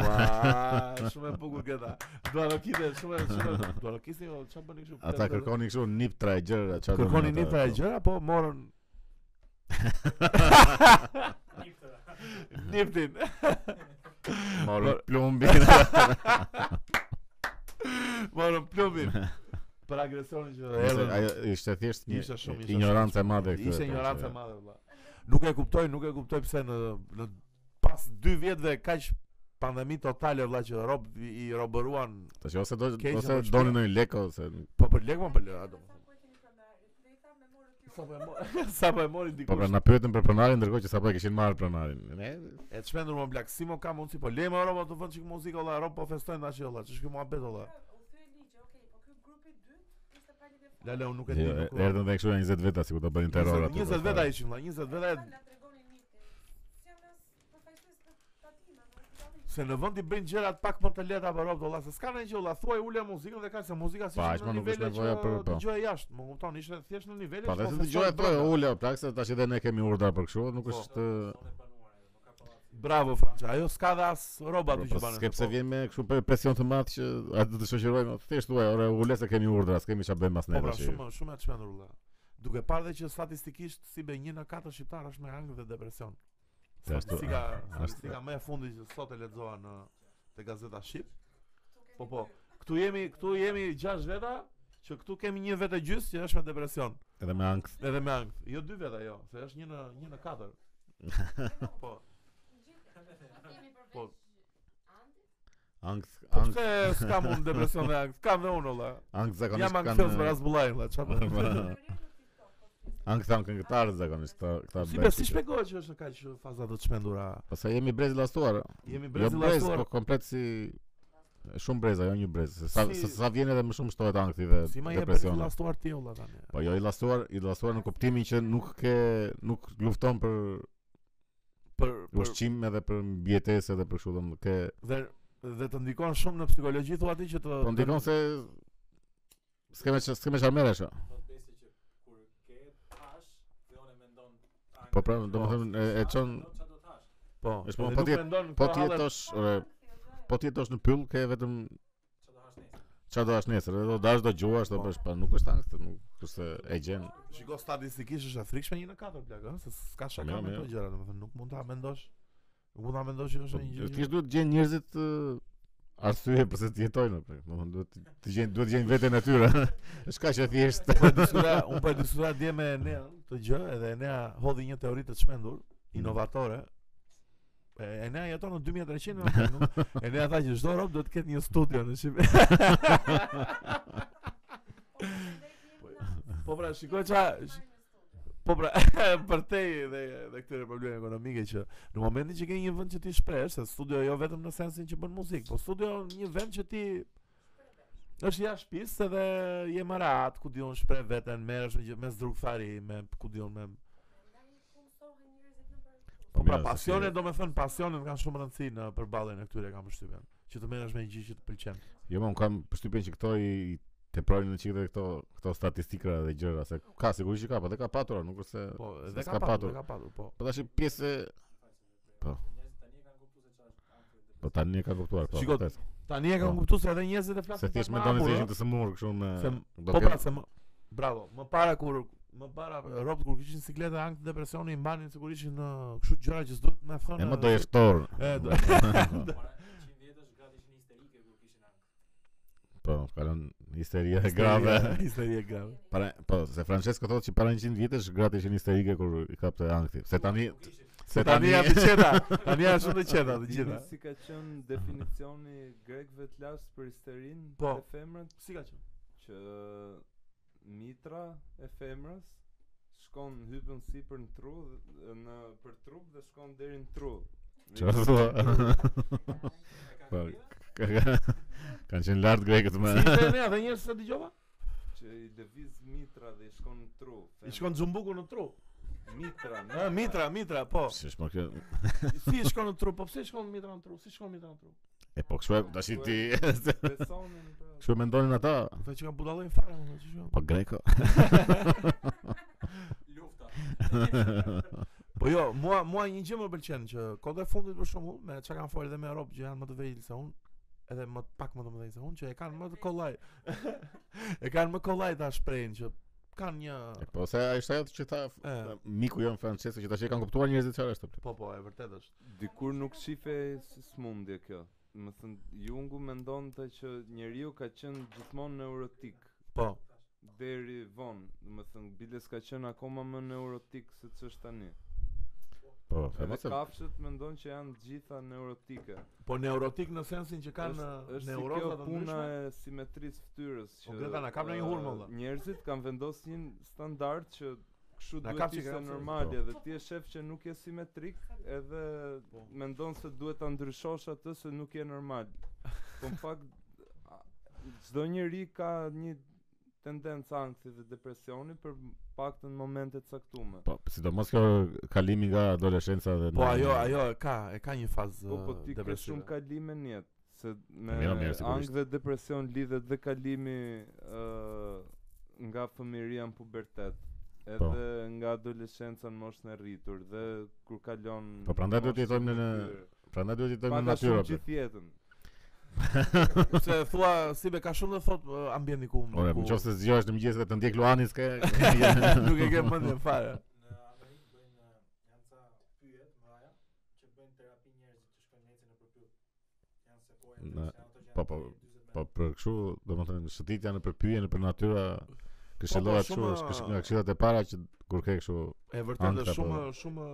shumë e bukur Greta. Dua të kite, shumë e- shumë e- dua të kisni, o, çfarë bëni kështu? Ata kërkoni kështu nip tra e gjëra çfarë do Kërkoni thonë një ata, po. të gjëra, po morën Niptin. Morën plumbi Morën plumbin. Për agresionin që Ose, erdhën. Ajo ishte thjesht një Ishte shumë, ishte ignorancë e shumë, madhe këtë, Ishte po, ignorancë që- e madhe valla. Nuk e kuptoj, nuk e kuptoj pse në në pas 2 vjetëve kaq pandemi totale valla që rob i robëruan po Tash ose do Keq ose apo shpia? doni ndonjë lek ose po për lek më për lek, a do. Sa po e mori, sa po e mori Po pra dikush. na pyetën për pronarin ndërkohë që sapo e kishin marrë pronarin. Ne E të shpendur më blak, si më ka mundësi, po lejmë Europa të vënd çik muzikë, olla, Europa po festojnë tash olla, ç'është ky muhabet olla. U thye ligji, okay, po ky grupi i dytë ishte pa lidhje fare. Lale, unë nuk e di. Jo, nuk- e- erdhën dhe kështu janë 20 veta sikur ta bënin terror aty. po pra. 20 për veta fare. ishin, vëlla, 20 Ata veta. na tregoni Niki. Si janë as përfaqësues të tatimave, é? të dallimit. Se në vend i bëjnë gjërat pak më të lehta për Europë, olla, se s'ka ndonjë gjë, olla, thuaj ule muzikën dhe kaq se muzika si Pa, aq ma nuk është nevoja për- po. dëgjoj jashtë, më kupton, ishte thjesht në nivele. Pa, që dhe po se festojnë dëgjoj po brenda. ula, plak se tash edhe ne kemi urdhër për kështu, nuk Po. është Bravo Franca, ajo s'ka dhe as roba aty Po, që po, banë. Skep se vjen me kështu pe- presion të madh që atë do të shoqërojmë. Thjesht thuaj, ore ule se kemi urdhra, s'kemi çfarë bëjmë as ne Po pra, tash. shumë shumë e çmendur vëlla. Duke parë dhe që statistikisht si be 1 në 4 shqiptar është me ankth dhe depresion. Se ashtu, eh, Statistika, ashtu. statistika më e fundit që sot e lexova në te gazeta shqip. Po po, këtu jemi, këtu jemi 6 veta që këtu kemi një vetë gjys që është me depresion, Edhe me ankth. edhe me ankth. Jo dy veta jo, se është 1 në 1 në 4. po, Kemi përveç Po. Andit? Ankth, po ankth, pse s'ka mund depresion dhe ankth? Kam dhe unë valla. ankth zakonisht Jam kanë. ankthos me razbullaj valla, çfarë? po. Ankth kanë këngëtarët zakonisht këta këta. Si bashkë. be si shpjegohet që është në kaq faza të çmendura? Pastaj jemi brez lastuar. Jemi Jo brezi brez, lastuar. po komplet si shumë breza, jo një brez. Se Sa Si- se sa vjen edhe më shumë shtohet ankthi dhe Si ma jep depresioni. lastuar ti olla tani. Po jo i lastuar, i lastuar në kuptimin që nuk ke nuk lufton për Për për ushqim edhe për mbijetesë edhe për kështu domethënë ke dhe dhe të ndikon shumë në psikologji thua ti që të po ndikon se s'kemë që s'kemë çfarë merresh. a. Po pra, domethënë e- e çon po është po, dhe po nuk tjet- mendon pra po këto ti hallet- jetosh, ore, po ti jetosh në pyll ke vetëm çfarë do hash nesër, edhe do dash do gjuash, do bësh, pa nuk është ankth, nuk kurse e gjen. Shiko statistikisht është e frikshme 1 në 4 plak, ëh, se s'ka shaka Jo, me jo. këto gjëra, domethënë nuk mund ta mendosh. Nuk mund ta mendosh që Po, është një Thjesht gjë. duhet të gjejnë njerëzit ë, arsye pse të jetojnë, apo. Domethënë duhet të- të gjejnë duhet të gjejnë veten e tyre. Është kaq e thjeshtë. Po diskutoja, unë po e diskutoja dje me Enea këtë gjë, edhe Enea hodhi një teori të çmendur, Mm. inovatore. E, Enea jeton në 2300, domethënë, nuk- Enea tha që çdo rob do të ketë një studio në Shqipëri. Po pra, shikoj qa... sh- Po pra, për te dhe, dhe këtyre probleme ekonomike që në momentin që ke një vend që ti shpresh, se studio jo vetëm në sensin që bën muzikë, po studio një vend që ti është jashtë shtëpisë edhe je më rahat, ku diun shpreh veten, merresh me gjë- me zdrugthari, me ku diun me Po pra, pasione, do me thënë pasionet kanë shumë rëndësi në përballjen e këtyre kam përshtypjen, që të merresh me një gjë që të pëlqen. Jo, më kam përshtypjen që këto i teprojnë në çikë këto këto statistikra dhe gjëra se ka sigurisht që ka, po dhe ka patura, nuk është se Po, se dhe s'ka ka patur, dhe ka patur, po. Po tash pjesë e- po. Po tani e kanë kuptuar, po. Shiko, vërtet. Tani e kam Po. kuptuar se edhe njerëzit e flasin. se thjesht pak më mendoni se hapur, jo? ë. ishin të sëmurë kështu me Se do po ketë- pra se më bravo, më para kur më para rob kur kishin sikleta ankth depresioni i mbanin sigurisht në kështu gjëra që s'duhet më thonë. uh, E më do jesh tor. E, do- Po, kalon histeria e Histeri- grave. Histeri e grave. Para, po, se Francesco thotë që para 100 vjetësh gratë ishin histerike kur i kapte ankthi. Se tani se Tani tani janë të qeta. Tani janë shumë të qeta të Dini gjitha. si ka qenë definicioni grekëve të lashtë për histerinë Po. e femrën Si ka qenë? që mitra e femrës shkon hypën sipër në tru dhe- në për trup dhe shkon deri në tru. Çfarë thua? Po. k- k- Kanë qenë lart grekët më. Si ishte ne atë njerëz se dëgjova? Që i lëviz mitra dhe i shkon në tru. I shkon xumbuku në tru. mitra. Ë, Mitra, Mitra, po. Si është më kjo? Si i shkon në tru? Po pse i shkon Mitra në tru? Si shkon Mitra në tru? E po kështu e tash i ti. Besonin pra. Kështu e mendonin ata. Ata Po, që kanë budallën fare, më thënë, që Po greko. Po jo, mua mua një gjë më pëlqen që kote e fundit për shembull, me çka kanë folur edhe me Europë që janë më të vejl se unë, edhe më pak më të mëdhenj se unë që e kanë më të kollaj. e kanë më kollaj ta shprehin që kanë një E Po se ai është ajo që tha e, miku jon Francesco që tash e kanë kuptuar njerëzit çfarë është. po po, e vërtet është. Dikur nuk shife si smundje kjo. Më thënë, Jungu mendon të që njeriu ka qenë gjithmonë neurotik Po, deri vonë. Më thënë, Biles ka qenë akoma më neurotik se që është tani. Po, e Edhe mos e kafshët mendon që janë gjitha neurotike. po neurotik në sensin që kanë është si neuroza kjo të puna ndryshme. e simetrisë fytyrës O, Greta, na kap në një ë, hurmë, valla. Njerëzit kanë vendosur një standard që Kështu Na duhet kap të ishte çikrat, normale po. dhe ti je shef që nuk je simetrik edhe Po. mendon se duhet ta ndryshosh atë se nuk je normal. Po në fakt a- çdo njeri ka një tendencë ankthi dhe depresioni për paktën në momente të caktuara. Po, sidomos kjo kalimi nga adoleshenca dhe Po në- ajo, ajo e ka, e ka një fazë Po po eh, ti ke depresive. shumë kalime në jetë, se me Mira, mirë, ankth sigurisht. dhe depresion lidhet dhe kalimi ë nga fëmijëria në pubertet edhe Po. nga adoleshenca në moshën e rritur dhe kur kalon Po, prandaj duhet moshën jetojmë e në- fytyrë. Prandaj duhet jetojmë Pa në ka natyrë. shumë apo. gjithë jetën. Se thua si be ka shumë dhe thot eh, ambienti ku. po. Ore, ku- më qoftë se zgjohesh në mëngjes dhe të ndjek Luanin s'ke. nuk e ke mendje fare. Në Amerikë bëjnë uh, janë ca pyjet mëdha që bëjnë terapi njerëzit që shkojnë ecin nëpër pyet. Janë se po janë Na- se ato që janë po, po, 40 metra. Po për kështu, domethënë shëtitja në përpyje, në për natyra këshillohet Po, kështu, po, është shumë- nga këshillat e para që kur ke kështu E vërtet Antra, është shumë po. shumë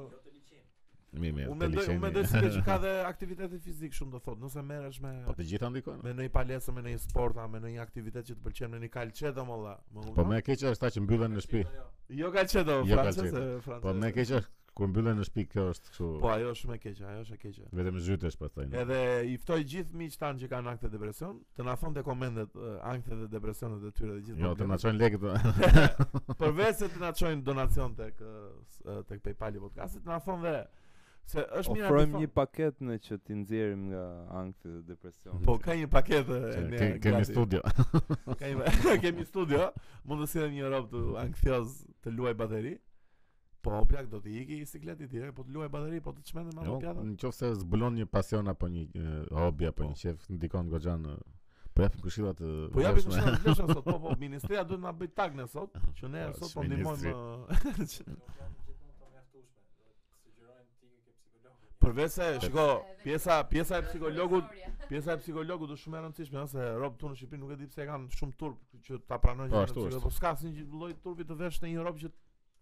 Jo të liçim. mi mirë. te unë mendoj unë liçeni. mendoj se që ka dhe aktivitete fizik shumë do thot, nëse merresh me Po të gjitha ndikojnë. me ndonjë palesë, me ndonjë sporta, me ndonjë aktivitet që të pëlqen, me një kalçe domalla. Më Po kupton? më e keqja është ta që mbyllen në shtëpi. Jo kalçe do, Jo francez, kalçe. e, francez. Po më e keqja është kur mbyllen në shtëpi kjo është kështu. Po ajo është shumë e keqe, ajo është e keqe. Vetëm zhytesh po thënë. Edhe i ftoj gjithë miq tan që kanë ankte depresion, të na thonë te komentet eh, anktet dhe depresionet e tyre dhe gjithë. Jo, të na problemet. çojnë lekët. Përveç se të na çojnë donacion tek eh, s- eh, tek PayPal i podcastit, të na thonë dhe se është mirë aty Ofrojmë thonë- një paketë në që t'i nxjerrim nga ankthi dhe depresioni. Po ka një paketë e, Ke- ne Kemi gati. studio. Ka një kemi studio, mund të sillen një rob të ankthioz të luaj bateri. Po plak do të iki bicikleti direkt, po të luaj bateri, po të çmendem me Jo, ato pjata. Në qoftë se zbulon një pasion apo një e, hobi apo një Po. qef, ndikon goxha në Po japim këshilla të Po japi vlefshme. kush na vlesh sot, po po ministria duhet na bëj tag ne sot, që ne Po, sot si po ministri. ndihmojmë që- Nuk janë gjithmonë të mjaftueshme. Do të sugjerojnë ti ke psikologun. përveç se shiko, Edhe pjesa pjesa e kjo është psikologut, profesorja. pjesa e psikologut është shumë e rëndësishme, ëh, se rob tonë në Shqipëri nuk e di pse e kanë shumë turp që ta pranojnë Po, një ashtu psikolog, është. po s'ka asnjë lloj turpi të vesh në një rob që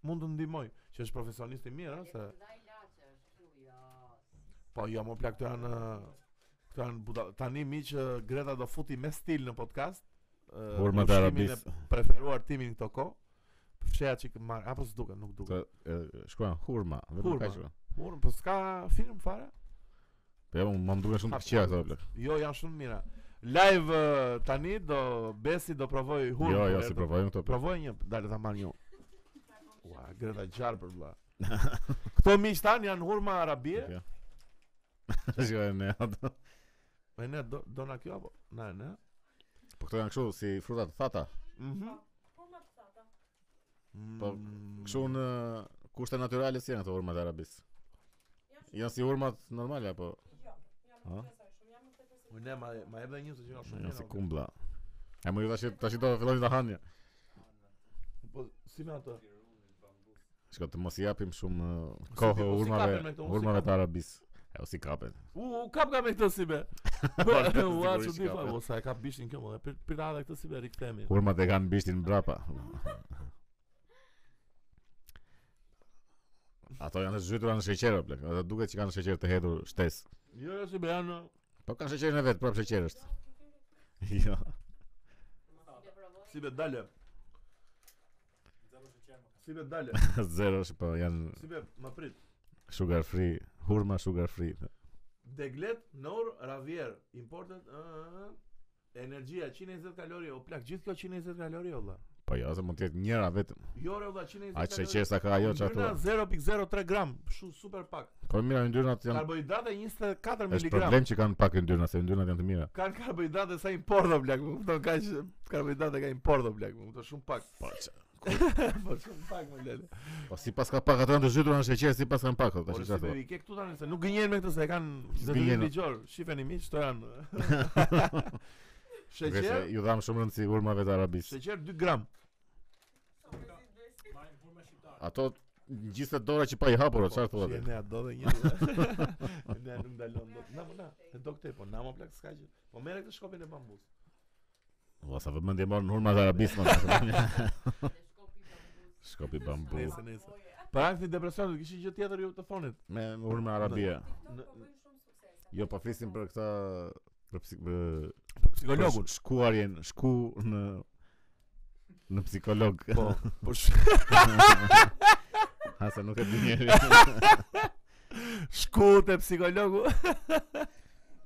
mund të ndihmoj, që është profesionist i mirë, ëh, se Dha ilaçe, është kështu, jo. Po jo, më plak këto janë këto janë buda, tani mi që Greta do futi me stil në podcast. ë, Urma të ushqimin e Arabisë. Preferuar timin këto kohë. Fsheja çik marr, apo po s'duket, nuk duket. Të- Po, e, Shkruan hurma, vetëm Hurma. kaq. shkruan. Urm, po s'ka film fare? Po ja, më më duken shumë të këqija këto blek. Jo, janë shumë mira. Live ë, tani do Besi do provoj po hurm. Jo, për jo, herë si të- provojmë këto. Provoj një, dalë ta marr një. Ua, Greta gjarë për vlla. Këto miq tan janë hurma arabie. Kjo. Shkruan ne ato. Po ne do do na kjo apo? Na, ne. Po këto janë kështu si fruta të thata. Mhm. Hurma të thata. Po, Mm. Kështu në kushte natyrale si janë ato hurmat e arabisë. Janë si hurmat normale apo Jo, jam Ha? nuk besoj shumë, jam nuk të besoj. Unë ma ma jep dhe një se që ka shumë po. janë mira, si o, kumbla. E më ju tash tash do fillojnë ta hanin. Po si me ato? Shko të mos i japim shumë uh, Si- kohë o, si urmave, kapen me këto, o, si urmave kapen. të arabisë. E o si kapen. U, u kap ka me këtë si be. Po, ua, sigurisht Po. çu di ka, fa, be. o sa e kap bishin kjo, më pira edhe këtë si be rikthemi. Urmat e kanë bishtin mbrapa. Ato janë të zhytura në sheqer o plak. Ato duket që kanë sheqer të hedhur shtes. Jo, jo si be janë. Po kanë sheqerin e vet, prap sheqer është. Jo. Le provoj. Si be dalë. Si be dalë. Zero është po janë Si be, më prit. sugar free, hurma sugar free. Deglet Nor Ravier imported ë, ë, ë. energjia 120 kalori, o plak gjithë kjo 120 kalori o vlla. Po jo, se mund të jetë njëra vetëm. Jo re o vlla 120 Aq kalori. sheqer sa ka ajo çatu. Ndyrna 0.03 gram, shumë super pak. Po mira yndyrnat janë Karbohidrate 24 është mg. problem që kanë pak yndyrna, se yndyrnat janë të mira. Kanë karbohidrate sa importo blak, më kupton kaq karbohidrate ka importo blak, më kupton shumë pak. Po që- po shumë pak më lele. po sipas ka pak ato janë të zhytura në sheqer, sipas kanë pak ato, Po tash si çfarë. bebi, ke këtu tani se nuk gënjen me këtë se e kanë zërin Gënjen. ligjor. Shifeni miq, këto janë. Vetë Sheqer, ju dham shumë rëndësi urmave të arabisë. sheqer 2 gram. Marrin hurma shqiptare. Ato gjithë të dora që pa i hapur, o, çfarë thua Po, Si ti? e Ne do dhe një. Ne nuk dalon dot. Na po na, e do këtë, po na më plak s'ka gjë. Po merre këtë shkopin e bambus. Ua sa vëmendje morën në urma të arabisë më. Dhe shkopi bambus. Shkopi bambu Nëse nëse. Për ankthi depresion, kishin gjë tjetër ju të thonit. me urma arabia. TikTok po Në- bën shumë sukses. Jo, po flisim për këtë për psik- për- Për për psikologun. sh- shkuarjen, shku në në psikolog. Po, po sh... Ha se nuk e di njeri. Shku te psikologu.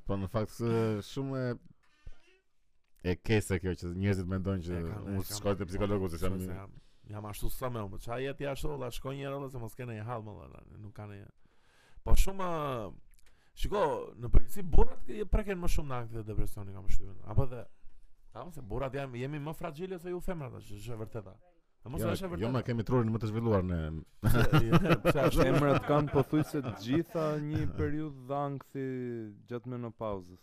Po në fakt ë, shumë e e kese kjo që njerëzit mendojnë që E kam, e unë kam. shkoj te psikologu se jam Shoj se jam. Jam ashtu sa më, po çaj jeti ashtu, la shkoj një herë olla, se mos kenë një hall më olla, nuk kanë një. Po shumë ë, Shiko, në përgjithësi burrat i preken më shumë në aktet e depresionit kam përshtypjen. Apo dhe Kam se burrat jam, jemi më fragile se ju femrat, është është e vërteta. E mos Jo, është e vërteta. jo ma kemi trurin më të zhvilluar ne. Pse- Po, pse është? Emrat kanë po- pothuajse të gjitha një periudhë dhe ankthi gjatë menopauzës.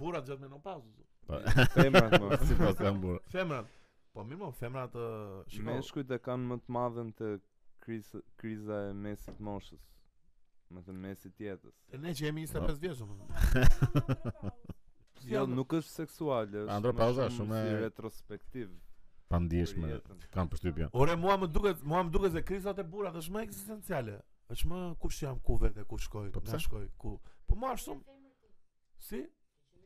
Burrat gjatë menopauzës. Po. Femrat më. Sipas jam burr. Femrat. Po mirë, mo, femrat ë, shiko. Meshkujt e kanë më të madhen të kriza, kriza e mesit moshës. Më të mesit jetës. E Ne që jemi 25 Po. vjeç domethënë. Jo, nuk është seksuale, është Andropauza, më shumë si e- retrospektiv. Pa për ndjeshme, jetën. kam përshtypjen. Ore mua më duket, mua më duket se krizat e burrat është më ekzistenciale. Është më kush jam, ku vete, ku shkoj, Po na pse? shkoj, ku. Po mua ashtu. Si?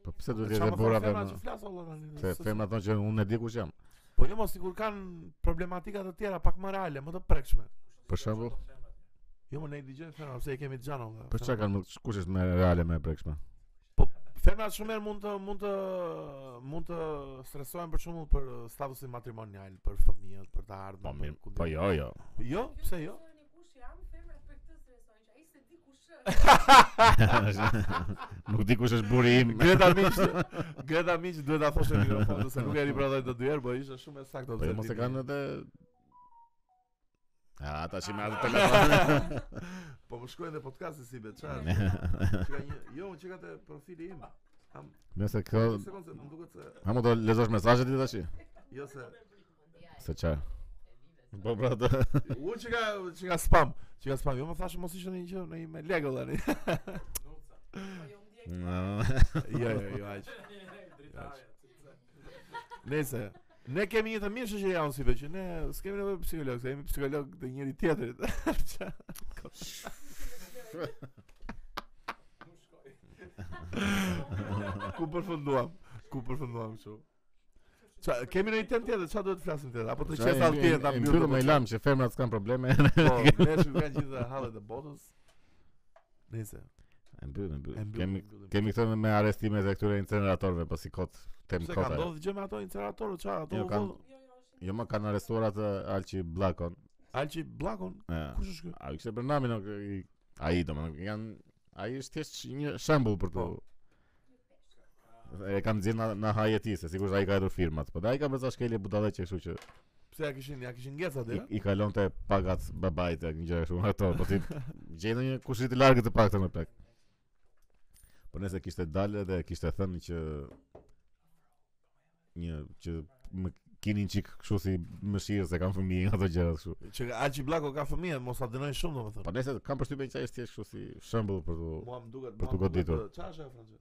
Po pse do të Qa jetë më burra thonë dhe femrat që flas valla tani. Se se- femra thonë që unë e di kush jam. Po jo mos sigur kanë problematika të tjera pak më reale, më të prekshme. Për shembull, Jo më ne i dëgjoj femrat, pse i kemi të gjano. valla. për Po çka kanë më- kush është më reale më e prekshme? Po femrat shumë herë mund të mund të mund të stresohen për shembull për uh, statusin matrimonial, për fëmijët, për të Po ardhmen. mirë, për ku po di. jo, jo. Jo, pse jo? Një kush jam, femrat për këtë stresojnë që ai se di kush është. Nuk di kush është burri im. Greta Miq, Greta Miq duhet ta thoshë në mikrofon se nuk e riprodhoj dot dy herë, po ishte shumë e saktë. Po jo, mos e observimi. kanë edhe A, ta që me atë telefon Po më shkojnë dhe podcasti si be, çfarë? Ne. Çka një, jo, çka te profili im. Nëse kjo Një sekondë, se më duket se A më do lezosh mesazhet ti tash? jo se Se çfarë? Po pra do. u çka çka spam, çka spam. Jo më thashë mos ishte një gjë në një me Lego tani. Jo, jo, jo, aq. Nëse Ne kemi një të mirë shoqëria unë si veç, ne s'kemi nevojë për psikolog, se jemi psikolog të njëri tjetrit. ku përfunduam? Ku përfunduam kështu? Ça kemi në një temë tjetër, çfarë duhet të flasim tjetër? Apo të qes altë tjetër ta mbyllë me mbyllë? lam që femrat s'kan probleme. Po, ne shumë kanë gjithë hallet e botës. Nëse. E mbyllë, e mbyllë. mbyllim, Kemi mbyllim. kemi këtë me arestimet e këtyre inceneratorëve po si kot, tem Pse ka kota. ndodhur gjë me ato incineratorët, çfarë ato? Jo, u kanë- vëllë? Jo më kanë arrestuar atë Alçi Bllakon. Alçi Bllakun, E, kush është ky? A kishte për namin o, i- ai domethënë janë ai është thjesht një shembull për to. Po. E kam dhënë në, në hajeti se sigurisht ai ka hedhur firmat, po ai ka bërë sa shkelje budallëqe kështu që Pse ja kishin, ja kishin i, ngjecë atje? i kalon të pagat babait e një gjë kështu ato, po ti gjenë një kushit i largët të paktën në plak. Po nëse kishte dalë dhe kishte thënë që një që më kinin çik kështu si mëshirë se kam fëmijë ato gjëra kështu. Që Alçi Blako ka fëmijë, mos ta dënoj shumë domethënë. Po nëse kam përshtypjen që ai është thjesht kështu si shembull për tu. Mua më duket Po, Për t'u goditur. Çfarë është ajo, Franca? Jo,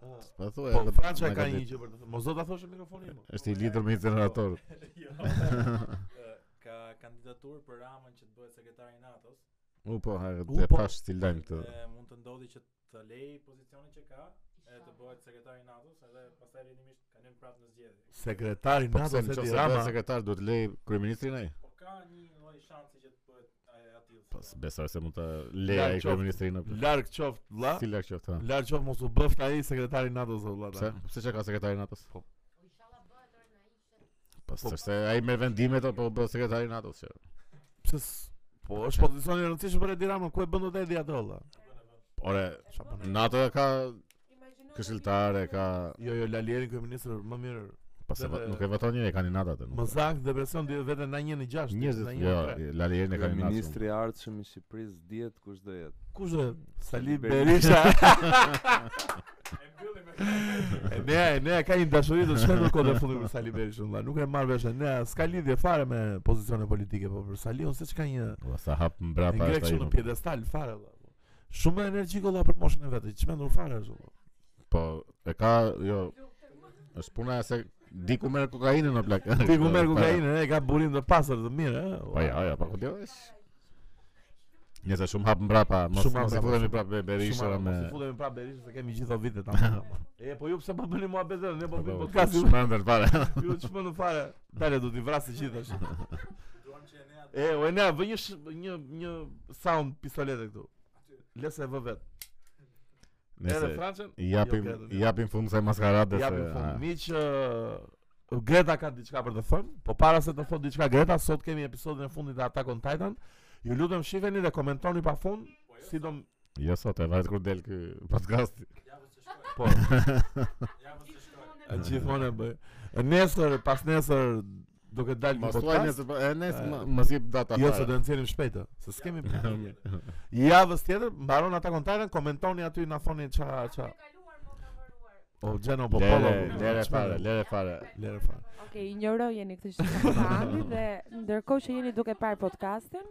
Ah. Po thuaj. Po edhe Franca na ka ditë. një gjë për të thënë. Mos do ta thosh në mikrofonin. mo. është i lidhur me incinerator. Jo. Ka kandidatur për Ramën që të bëhet sekretari i NATO-s. U po, ha, U, e po. pash si lajm këtë. Dhe mund të ndodhi që të lejë pozicionin që ka, e të bëhet sekretari i NATO-s, edhe pastaj rinimisht kanë hyrë prapë në zgjedhje. Sekretari Po pse NATO në se qoftë se bëhet Tirana. sekretar duhet lej kryeministrin ai? Po ka një lloj shansi që të bëhet e, atill. Po besoj se mund ta lejë Larg ai qoftë. kryeministrin apo. Larg qoftë vlla. Si larg qoftë. ha. Larg qoftë mos u bëft ai sekretari NATO se vlla. Pse? tani. Pse çka ka sekretari NATO-s? Po. Inshallah bëhet orë në ishte. Po se ai merr vendimet apo bë sekretari i NATO-s. që- Pse? s- Po është pozicion i rëndësishëm për Edi Ramën, ku e bën dot Edi atë vlla? Ore, Çfarë bën? Edi? NATO ka Imagjino. këshilltare, ka Jo, jo, Lalieri kryeministër më mirë. po se Edhe- nuk e voton njëri kandidatat. Më zak depresion di vetëm na 1 në 6. Njerëzit jo, Lalierin e kanë Ministri i Artshëm i Shqipërisë dihet kush do jetë. Kush do? Sali Sali Berisha. E mbyllim me E Nea, e nea ka një dashuri të shkëndër kohë të fundit për Sali Berishën, valla. Nuk e marr vesh. e Nea s'ka lidhje fare me pozicione politike, po për Sali unë se çka një Po sa hap e mbrapa ngrek është ai. shumë në mo. piedestal fare valla. Shumë energjik valla për moshën e vet. Çmendur fare është valla. Po e ka jo është puna e se diku merr kokainën në plak. Ti ku merr kokainën, e ka burim të pastër të mirë, ë. Po ja, ja, po ku do është. Nëse shumë hap mbrapa, mos Shumë hap mos i mbrapa, futemi shumë. prapë Berishra me Si futemi prapë Berishën se kemi gjithë vitet tamam. E po ju pse po bëni mua bezë, ne po bëjmë Po, podcast. Shmendër fare. Ju çmendur fare. Dale do t'i vrasë gjithë tash. duar Tham që e nea E, o e ne, vë një, sh- një, një sound pistolete këtu. Le se vë vetë. Edhe Nëse Franqen, i japim jo, Gretën, i japim fund kësaj maskarade i se japim a, fund. Miq, ë, Greta ka diçka për të thënë, po para se të thotë diçka Greta, sot kemi episodin e fundit të Attack on Titan. Ju lutem shifeni dhe komentoni pafund, sidom jo sot e vajt kur del ky podcast. javës që shkoj. po Javës që shkoj. e gjithmonë e bëj. E Nesër, pas nesër do të dalë një Mos thuaj podcast. nëse po- e nes E, ma- mos jep data. Jo, fare. se do të nxjerrim shpejt, ë, se s'kemi plan. Javës tjetër mbaron Attack on Titan, komentoni aty na thoni ç'a ç'a. O Gjeno po po. Lere, po, lere çfarë? fare, lere fare. Lere fare. Okej, injoroj jeni këtë që ka thënë Andi dhe ndërkohë që jeni duke parë podcastin,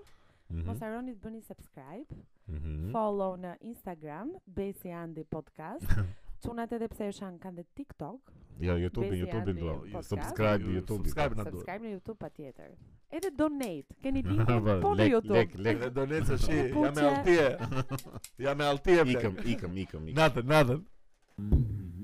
mos harroni të bëni subscribe, Mhm. follow në Instagram, Besi Andi Podcast. Çunat edhe pse është kanë dhe TikTok, Jo, YouTube, Besi YouTube Andi do. podcast. Subscribe YouTube. Subscribe na duhet. subscribe në YouTube patjetër. Edhe donate, keni Па, linkin po në Lek, YouTube. lek, Edhe doneca shi, Kupuqe. jam e altie. Jam e altie. lek. plak. Ikëm, ikëm, ikëm, ikëm. Natën, natën.